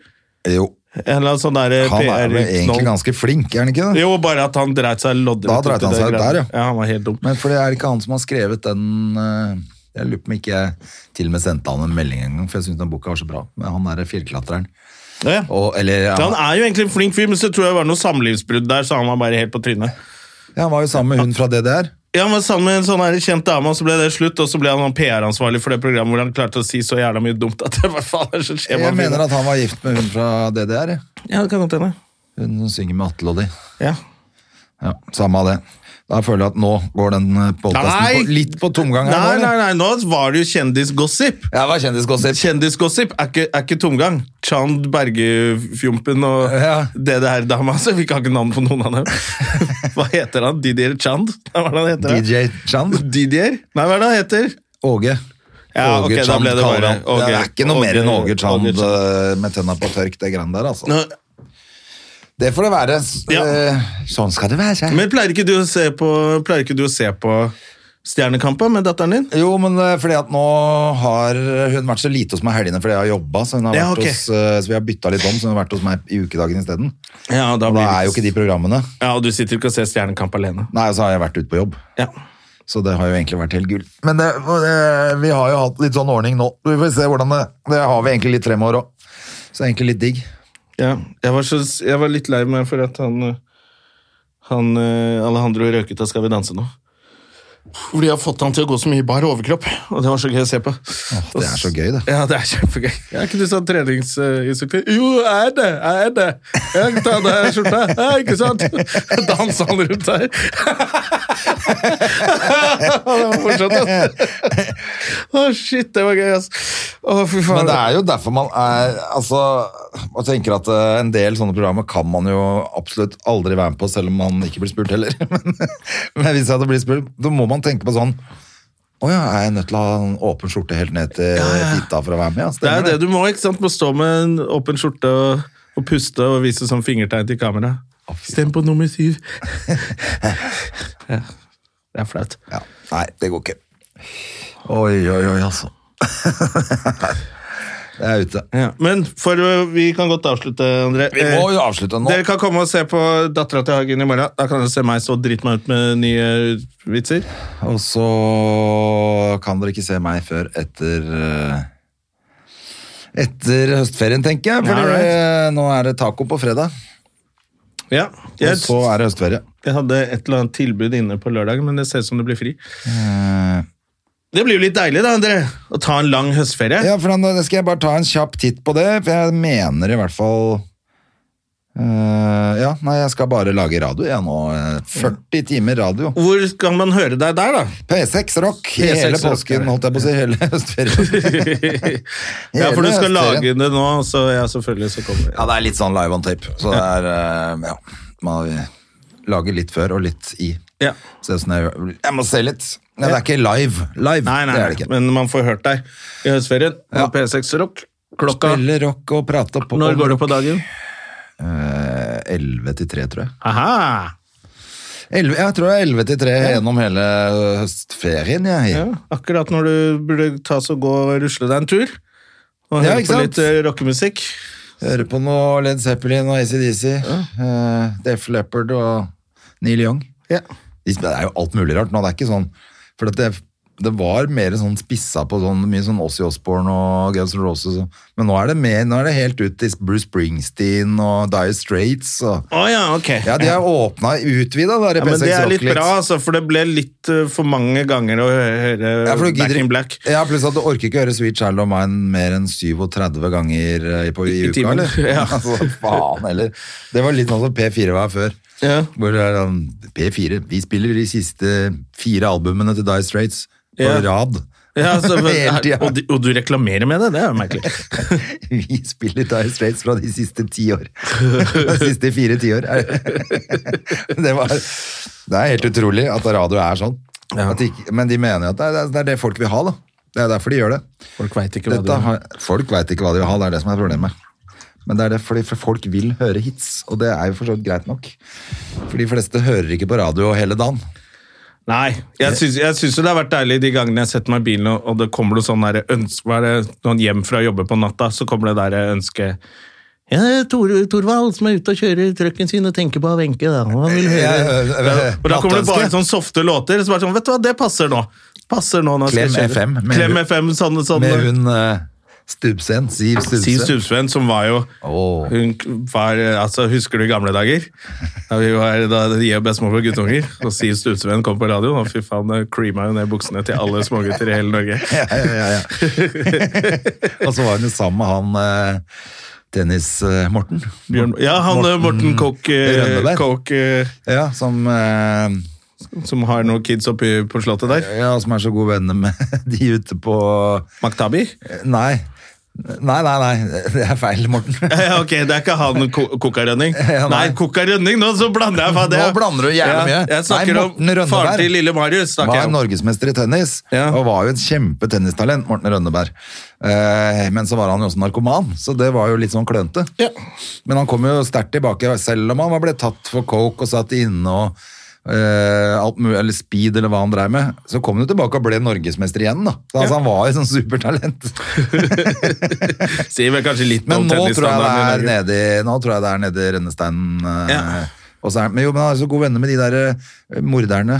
Jo,
En eller annen sånn der
han er vel egentlig
PR-knoll.
ganske flink, er han ikke det?
Jo, bare at han dreit seg loddrett.
Da
ut
dreit
i
han
det
seg ut
greiene.
der, ja.
ja. Han var helt dum.
Men for det er ikke han som har skrevet den eh, Jeg lurer på om ikke jeg til og med sendte han en melding en gang, for jeg syns den boka var så bra. Men han derre fjellklatreren.
Ja, ja.
Og, eller, ja,
Ja, Han er jo egentlig en flink fyr, men så tror jeg det var noe samlivsbrudd der, så han var bare helt på trynet.
ja, han var jo sammen med hun fra DDR.
Ja, han var sammen med en sånn her kjent dame, og så ble det slutt, og så ble han sånn PR-ansvarlig for det programmet hvor han klarte å si så jævla mye dumt at det var faen er det som skjer med
Jeg
han fyren?
mener at han var gift med hun fra DDR. jeg.
Ja, det kan godt hende.
Hun som synger med Atle og de.
Ja.
Ja, Samme av det. Da føler jeg at nå går den
Nei!
podkasten på, litt på tomgang. her nå,
Nei,
eller?
nei, nei, nå var det jo kjendisgossip.
Ja, det var kjendisgossip.
Kjendisgossip er ikke, er ikke tomgang. Chand Berge-fjompen og
Ja.
det der dama altså, Vi kan ikke navn på noen av dem. Hva heter han? Didier Chand? Nei, Hva er det han heter?
DJ Chand.
Didier? Nei, hva er det han heter?
Åge.
Ja, ok, da
Chand
ble det
kaller
bare
han.
Åge.
Det er ikke noe mer enn Åge
Åge
Chand
Chand.
eh, med tenna på tørk, det greiene der, altså.
Nå,
Det får det være. S-
Ja.
eh, Sånn skal det være.
men pleier ikke du å se på, pleier ikke du å se på Stjernekampen med datteren din?
Jo, men eh, fordi at nå har hun vært så lite hos meg helgene fordi jeg har jobba, så, hun har
Ja,
vært
ok.
hos, eh, så vi har bytta litt om, så hun har vært hos meg i ukedagen isteden.
Ja, da
Og
blir
da
det-
er jo ikke de programmene.
Ja, og du sitter ikke og ser Stjernekamp alene.
Nei, og så har jeg vært ute på jobb.
Ja.
Så det har jo egentlig vært helt gull. Men det, det, vi har jo hatt litt sånn ordning nå. Vi får se hvordan det Det har vi egentlig litt fremover òg. Så det er egentlig litt digg.
Ja, jeg var, så, jeg var litt lei meg for at han, øh, han øh, Alejandro røket av Skal vi danse nå. Fordi jeg har fått han til å gå så mye i bar overkropp, og det var så gøy å se på.
det er så gøy, det.
Ja, det er kjempegøy. Er ikke du sånn treningsinstruktør? Jo, jeg er det! Jeg er det! Jeg tar av deg skjorta! Ja, ikke sant? Dansa han rundt her. det var fortsatt, ass. Å, shit, det var gøy, ass. Å, fy faen.
Men det er jo derfor man er Altså, og tenker at eh, en del sånne programmer kan man jo absolutt aldri være med på, selv om man ikke blir spurt heller. Men, men hvis jeg hadde blitt spurt, da må man tenke på sånn Å ja, er jeg nødt til å ha en åpen skjorte helt ned til fitta for å være med?
Det
Ja,
er
stemmer
jo det du må, ikke sant? Må stå med en åpen skjorte og Og puste og vise sånn fingertegn til kamera. Stem på nummer syv. ja. Det er flaut.
Ja. Nei, det går ikke. Oi, oi, oi, altså. det er ute.
Ja. Men for, øh, vi kan godt avslutte, André. Eh,
Vi må jo avslutte nå.
Dere kan komme og se på Dattera til Hagen i morgen. Da kan dere se meg så drite meg ut med nye vitser.
Og så kan dere ikke se meg før etter eh, etter høstferien, tenker jeg. For
Ja, right.
nå er det taco på fredag,
Ja.
og
Jeg,
så er det høstferie.
jeg hadde et eller annet tilbud inne på lørdag, men det ser ut som det blir fri.
Eh,
Det blir jo litt deilig, da, André. Å ta en lang høstferie.
Ja, for da skal jeg bare ta en kjapp titt på det, for jeg mener i hvert fall eh, Ja, nei, jeg skal bare lage radio, jeg nå. eh, 40 timer radio.
Hvor kan man høre deg der, da?
P6 Rock
P6
hele
Rock,
påsken,
ja.
holdt jeg på å si. Hele høstferien.
ja, for du skal
høstferien.
lage det nå, så ja, selvfølgelig så kommer
Ja, det er litt sånn live on tape. Så det er eh, Ja. Man lager litt før og litt i.
Ja.
Se åssen sånn jeg gjør. Jeg må se litt. Nei, det er ikke live. Live,
Nei, nei,
det er det ikke.
men man får hørt deg i høstferien på
Ja.
P6 Rock. Klokka
Spille rock og prate på
Når går det på dagen?
Eh, 11 til 3, tror jeg.
Aha!
11, jeg tror det er 11 til 3 gjennom hele høstferien, jeg.
Ja, akkurat når du burde ta så gå og rusle deg en tur. Og
Ja,
høre
ikke
på
sant?
litt eh, rockemusikk.
Hører på noe Led Zeppelin og ACDC. eh, Def Leppard og Neil Young.
Ja.
De sp- Det er jo alt mulig rart nå, det er ikke sånn For at det, det var mer sånn spissa på sånn mye sånn Ozzy Osbourne og Guns N' Roses og, Men nå er det mer, nå er det helt ut til Bruce Springsteen og Dire Straits og
Å ja, ok.
Ja, de har åpna, utvida der i
Ja, men
P6
det er
Rock
litt bra, altså, for det ble litt eh, for mange ganger å hø- høre
Ja, for du
Back
gidder-
in Black.
Ja, pluss at du orker ikke høre Sweet Child of Mine mer enn 37 ganger eh, på, i,
I
uka,
timen.
eller?
Ja.
altså, faen heller. Det var litt sånn som P4 var før.
Ja.
Hvor det er sånn, P4, vi spiller de siste fire albumene til Dire Straits på
Ja.
rad.
Ja, altså, men,
Hele tida.
og, du, og du reklamerer med det? Det er jo merkelig.
Vi spiller Dire Straits fra de siste ti år. De siste fire tiår. er det. Det, var, det er helt utrolig at radio er sånn. At de, ikke- men de mener jo at det er, det er det folk vil ha, da. Det er derfor de gjør det.
Folk veit ikke hva
Dette
du
har, folk veit ikke hva de vil ha, det er det som er problemet. Men det er det fordi for folk vil høre hits, og det er jo for så vidt greit nok. For de fleste hører ikke på radio hele dagen.
Nei,
Eh.
jeg syns, jeg syns jo det har vært deilig de gangene jeg setter meg i bilen, og, og det kommer noe sånn der ønske, hva er det, noen hjem fra å jobbe på natta, så kommer det der ønske ja, det er Tor, Torvald som er ute og kjører trucken sin og tenker på Wenche, da. Han vil høre.
Ja, ja, ja, ja.
og da kommer det bare
Natteønske.
sånn softe låter. Så bare sånn, vet du hva, det passer nå. Passer nå når jeg skal
Klem
kjøre.
FM, med
Klem
hun-
FM, sånn, sånn.
Med hun uh, Stubbseen, Siv
Siv
Stubbseen.
Stubbsveen, som var jo
Åh.
Hun var Altså, husker du i gamle dager? Da vi var da jeg og bestemor var guttunger, og Siv Stubbsveen kom på radioen, og fy faen, det creama jo ned buksene til alle smågutter i hele Norge.
Ja, ja, ja, ja. og så var hun jo sammen med han eh, Dennis eh, Morten.
Bjørn, ja, han Morten, Morten Koch, eh,
Rønneberg.
Koch, eh,
Ja, som, eh,
som har noen kids oppe på slottet der.
ja, som er så gode venner med de ute på
Maktabi?
Nei. Nei, nei, nei. Det er feil, Morten.
Ja, ok, det er ikke han ko Koka Rønning.
Ja,
nei,
nei.
Koka Rønning, nå så blander jeg faen det.
Nå blander du jævlig mye.
Jeg snakker
Nei,
om
Morten
faren
Rønneberg.
til lille Marius. snakker
Var
jeg om.
norgesmester i tennis,
Ja.
og var jo et kjempe tennistalent, Morten Rønneberg. Eh, men så var han jo også narkoman, så det var jo litt sånn klønete.
Ja.
Men han kom jo sterkt tilbake, selv om han var- ble tatt for coke og satt inne og eh, alt mulig, eller speed eller hva han drev med, så kom han jo tilbake og ble norgesmester igjen, da. Så, altså, han var jo sånn supertalent.
Sier vel kanskje litt
Men
om
nå tror jeg det
tennisstandarden i
er
Norge.
nede i, nå tror jeg det er nede i rennesteinen. eh,
Ja.
og så er, men jo, men han er så gode venner med de der eh, morderne.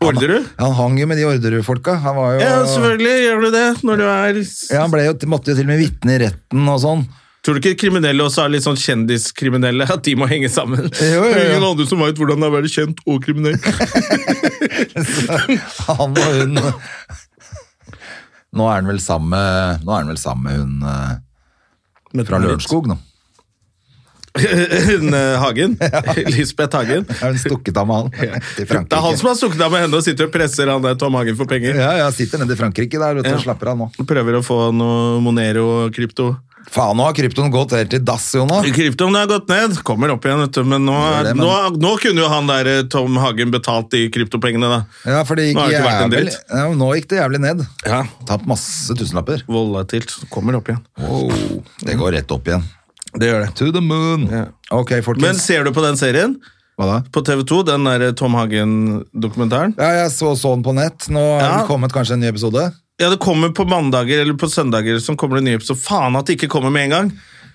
Orderud?
Han hang jo med de Orderud-folka. Han var jo
Ja, selvfølgelig gjør du det når du er
Ja, han ble jo, måtte jo til og med vitne i retten og sånn.
Tror du ikke kriminelle også er litt sånn kjendiskriminelle? At de må henge sammen?
jo, jo.
Det er Ingen andre som veit hvordan det er å være kjent og kriminell.
Han og hun Nå er han vel sammen med Nå er han vel sammen med hun eh,
Men
fra Lørenskog, nå.
Hun eh, Hagen. Lisbeth Hagen.
Er hun stukket av med han til
Det er han
Frankrike?
som har stukket av med henne og sitter og presser han der Tom Hagen for penger.
Ja, ja, sitter nede i Frankrike der, vet du,
Ja.
og slapper av nå.
Prøver å få noe Monero-krypto.
Faen, nå har kryptoen gått helt til dass, jo nå.
Kryptoen har gått ned, kommer opp igjen, vet du. Men nå,
Gjør
er,
det, men-
nå, nå kunne jo han der eh, Tom Hagen betalt de kryptopengene, da.
Ja, for det gikk
Nå har det ikke vært en
jævlig
dritt.
ja, Nå gikk det jævlig ned.
Ja.
Tapt masse tusenlapper.
Volatilt. Kommer opp igjen.
Wow, det går rett opp igjen.
Det gjør det.
To the moon. Ok,
Men
folkens.
ser du på den serien
Hva da?
på TV 2, den der Tom Hagen-dokumentaren?
Ja, jeg så sånn på nett. Nå er
Ja.
det kommet kanskje en ny episode.
Ja, det kommer på mandager eller på søndager som kommer det nye episoder. Faen at det ikke kommer med en gang!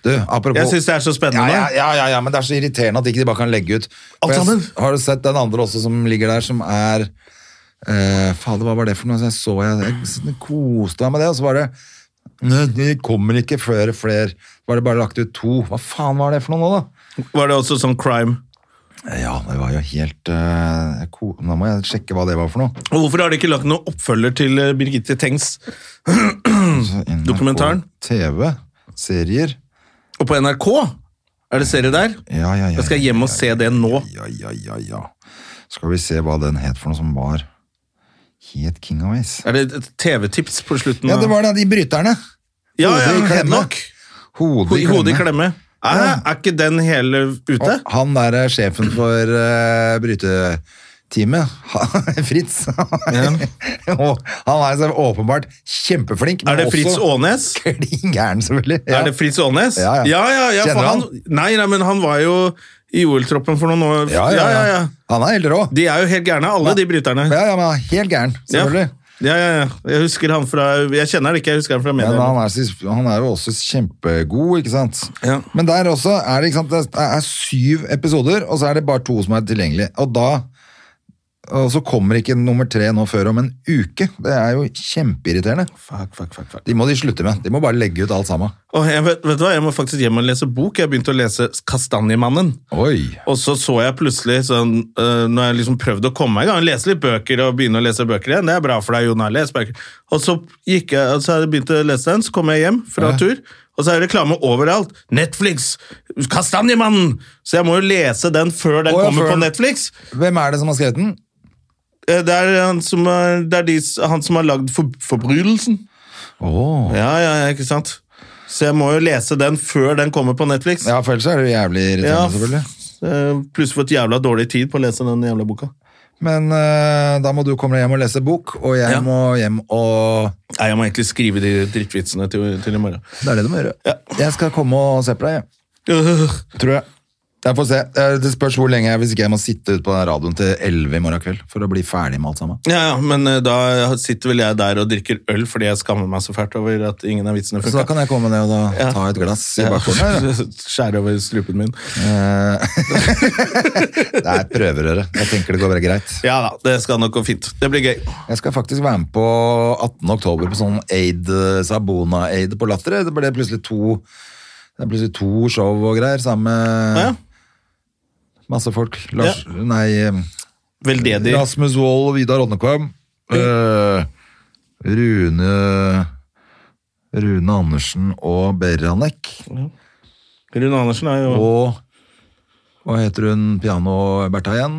Du, apropos...
Jeg syns det er så spennende.
ja, ja, ja, ja, ja, men det er så irriterende at ikke de bare kan legge ut. For
Alt
jeg-
sammen.
Har du sett den andre også som ligger der, som er eh, Fader, hva var det for noe? Så jeg så jeg, jeg s- koste meg med det, og så var det Nei, det kommer ikke flere flere. Var det bare lagt ut to? Hva faen var det for noe nå, da?
Var det også sånn crime?
Ja, det var jo helt eh, ko Nå må jeg sjekke hva det var for noe.
Og hvorfor har de ikke lagt noen oppfølger til eh, Birgitte Tengs?
Så Altså, NRK
Dokumentaren?
TV. Serier.
Og på NRK? Er det serie der?
Ja, ja, ja.
Jeg skal hjem og se det nå.
Ja, ja, ja, ja. Skal vi se hva den het for noe som var Het King of Ace.
Er det et TV-tips på slutten?
Ja,
av-
det var det, de bryterne.
ja, ja,
Hodet i klemme.
Headlock.
Hodet
Ho- Hodet i klemme. Er, er ikke den hele ute?
Og han der er sjefen for uh, bryteteamet, Fritz. Og han er så åpenbart kjempeflink. men
er det Fritz
også
Aanes?
Klin gæren, selvfølgelig. Ja.
Er det Fritz Aanes?
Ja, ja.
ja, ja, ja, for
Kjenner
han,
han?
nei, nei, men han var jo i OL-troppen for noen år.
ja, ja, ja, Han er helt rå.
De er jo helt gærne, alle de bryterne.
Ja, ja, men han er helt gæren, selvfølgelig.
Ja, ja, ja. Jeg husker han fra Jeg kjenner han ikke, jeg husker han fra media.
Men han er, så- han er jo også kjempegod, ikke sant?
Ja.
Men der også er det, ikke sant, det er syv episoder, og så er det bare to som er tilgjengelige. Og da og så kommer ikke nummer tre nå før om en uke. Det er jo kjempeirriterende.
Fuck, fuck, fuck, fuck.
De må de slutte med. De må bare legge ut alt sammen.
Åh, jeg vet, vet du hva, jeg må faktisk hjem og lese bok. Jeg begynte å lese Kastanjemannen.
Oi!
Og så så jeg plutselig, sånn, øh, når jeg liksom prøvde å komme meg i gang, lese litt bøker og begynne å lese bøker igjen, det er bra for deg, Jonar, les bøker. Og så gikk jeg, og så hadde jeg begynt å lese den, så kom jeg hjem fra tur, og så er det reklame overalt. Netflix! Kastanjemannen! Så jeg må jo lese den før den
Å, ja,
kommer
før
på
den-
Netflix.
Hvem er det som har skrevet den?
Eh, Det er han som, er, det er de, s- han som har lagd for, Forbrytelsen.
Åh.
Ja, ja, ja, ikke sant? Så jeg må jo lese den før den kommer på Netflix.
Ja, for ellers er det jo jævlig irriterende,
Ja.
selvfølgelig.
Eh, Plutselig fått jævla dårlig tid på å lese den jævla boka.
Men eh, da må du komme deg hjem og lese bok, og jeg
Ja.
må hjem og
Nei, jeg må egentlig skrive de drittvitsene til, til i morgen.
Det er det du må gjøre. Jeg skal komme og se på deg, jeg.
Øh,
Tror jeg. Jeg får se. Eh, Det spørs hvor lenge jeg, hvis ikke jeg må sitte ut på den radioen til 11 i morgen kveld for å bli ferdig med alt sammen.
Ja, ja, men eh, da sitter vel jeg der og drikker øl fordi jeg skammer meg så fælt over at ingen av vitsene
Så
funka.
da kan jeg komme ned og da ta et glass i bakgården. her, da.
Skjære over strupen min.
Det er prøverøret. Jeg tenker det går bare greit.
Ja da, det skal nok gå fint. Det blir gøy.
Jeg skal faktisk være med på 18. oktober på sånn Aid, Sabona-aid på Latter. eh. Det ble plutselig to det er plutselig to show og greier sammen med
Ja,
masse folk. Lars, Nei, eh,
Veldedig.
Rasmus Wold og Vidar Oddekvam. Eh, Rune Rune Andersen og Beranek.
Rune Andersen er jo
Og hva heter hun piano-Bertha igjen?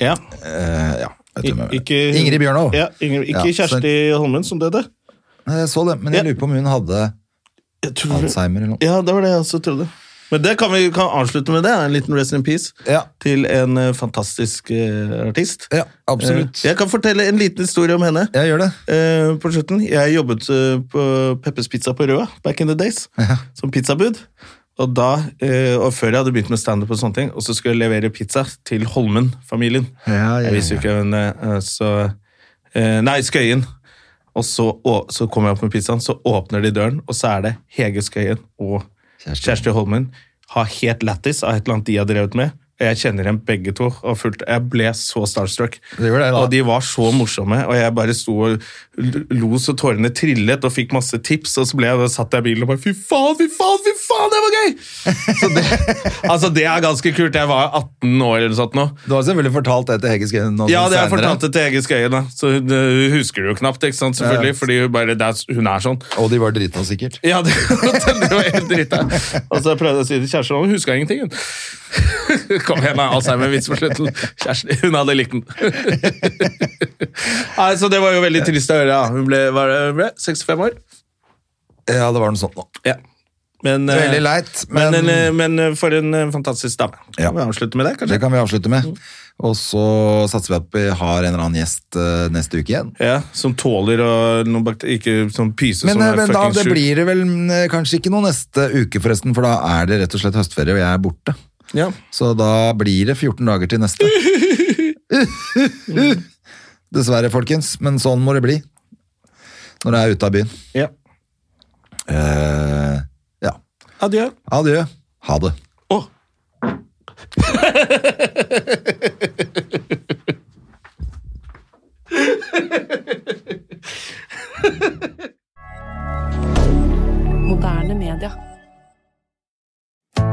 Ja.
Eh, ja, vet du hvem jeg mener.
Ikke,
Ingrid Bjørnov.
Ja, Ingrid, ikke
Ja, så-
Kjersti Holmen, som døde.
Nei, Jeg så det, men jeg
Ja.
lurer på om hun hadde
Jeg tror
Alzheimer eller noe.
Ja, det var det jeg også trodde. Men det kan vi kan avslutte med det. En liten rest in peace
Ja.
til en eh, fantastisk eh, artist.
Ja, absolutt.
Eh, Jeg kan fortelle en liten historie om henne.
Jeg gjør det.
Eh, på slutten, Jeg jobbet eh, på Peppers Pizza på Røa back in the days, som pizzabud. Og da, eh, og Før jeg hadde begynt med standup, og sånne ting, og så skulle jeg levere pizza til Holmen-familien.
Ja, ja,
Jeg visste jo ikke hvem eh, så, eh, Nei, Skøyen. Og så, å, så kommer jeg opp med pizzaen, så åpner de døren, og så er det Hege Skøyen og
Kjersti.
Kjersti Holmen har helt lættis av et eller annet de har drevet med. Og Jeg kjenner dem begge to. og fullt, Jeg ble så starstruck.
Det gjorde jeg da.
og de var så morsomme, og jeg bare sto og l- lo så tårene trillet og fikk masse tips, og så ble jeg, da satt jeg i bilen og bare Fy faen, fy faen, fy faen, det var gøy! Så det, altså, det er ganske kult. Jeg var 18 år eller sånt nå.
Du har selvfølgelig fortalt det til Hege Skøyen noen
Ja, det har jeg
senere.
fortalt det til Hege Skøyen, da. Så hun, eh, hun husker det jo knapt, ikke sant, selvfølgelig, fordi hun bare, det er, hun er sånn.
Og de var drita, sikkert.
Ja, det, det var helt dritt da. Og så prøvde jeg å si til kjæresten, og hun husker ingenting. hun. Kom igjen, da, Alzheimer-vits på slutten. Kjæresten, hun hadde likt den. Nei, så det var jo veldig trist å høre, ja. Hun ble, hva er det hun ble 65 år.
Ja, det var noe sånt nå.
Ja. Men, eh,
Veldig leit,
men,
men-
en, eh, men eh, for en eh, fantastisk dame.
Ja.
Vi avslutter med det, kanskje?
Det kan vi avslutte med.
Mm.
Og så satser vi at vi har en eller annen gjest eh, neste uke igjen.
Ja, Som tåler å noen bakter- Ikke sånn pyse
Men,
som er
eh, men da,
fuckings
det
sjuk.
blir det vel eh, kanskje ikke noe neste uke, forresten, for da er det rett og slett høstferie, og jeg er borte.
Ja.
Så da blir det 14 dager til neste. Dessverre, folkens, men sånn må det bli når jeg er ute av byen.
ja.
Eh, ja.
Adjø.
Adjø. Ha det.
Å.
Moderne media.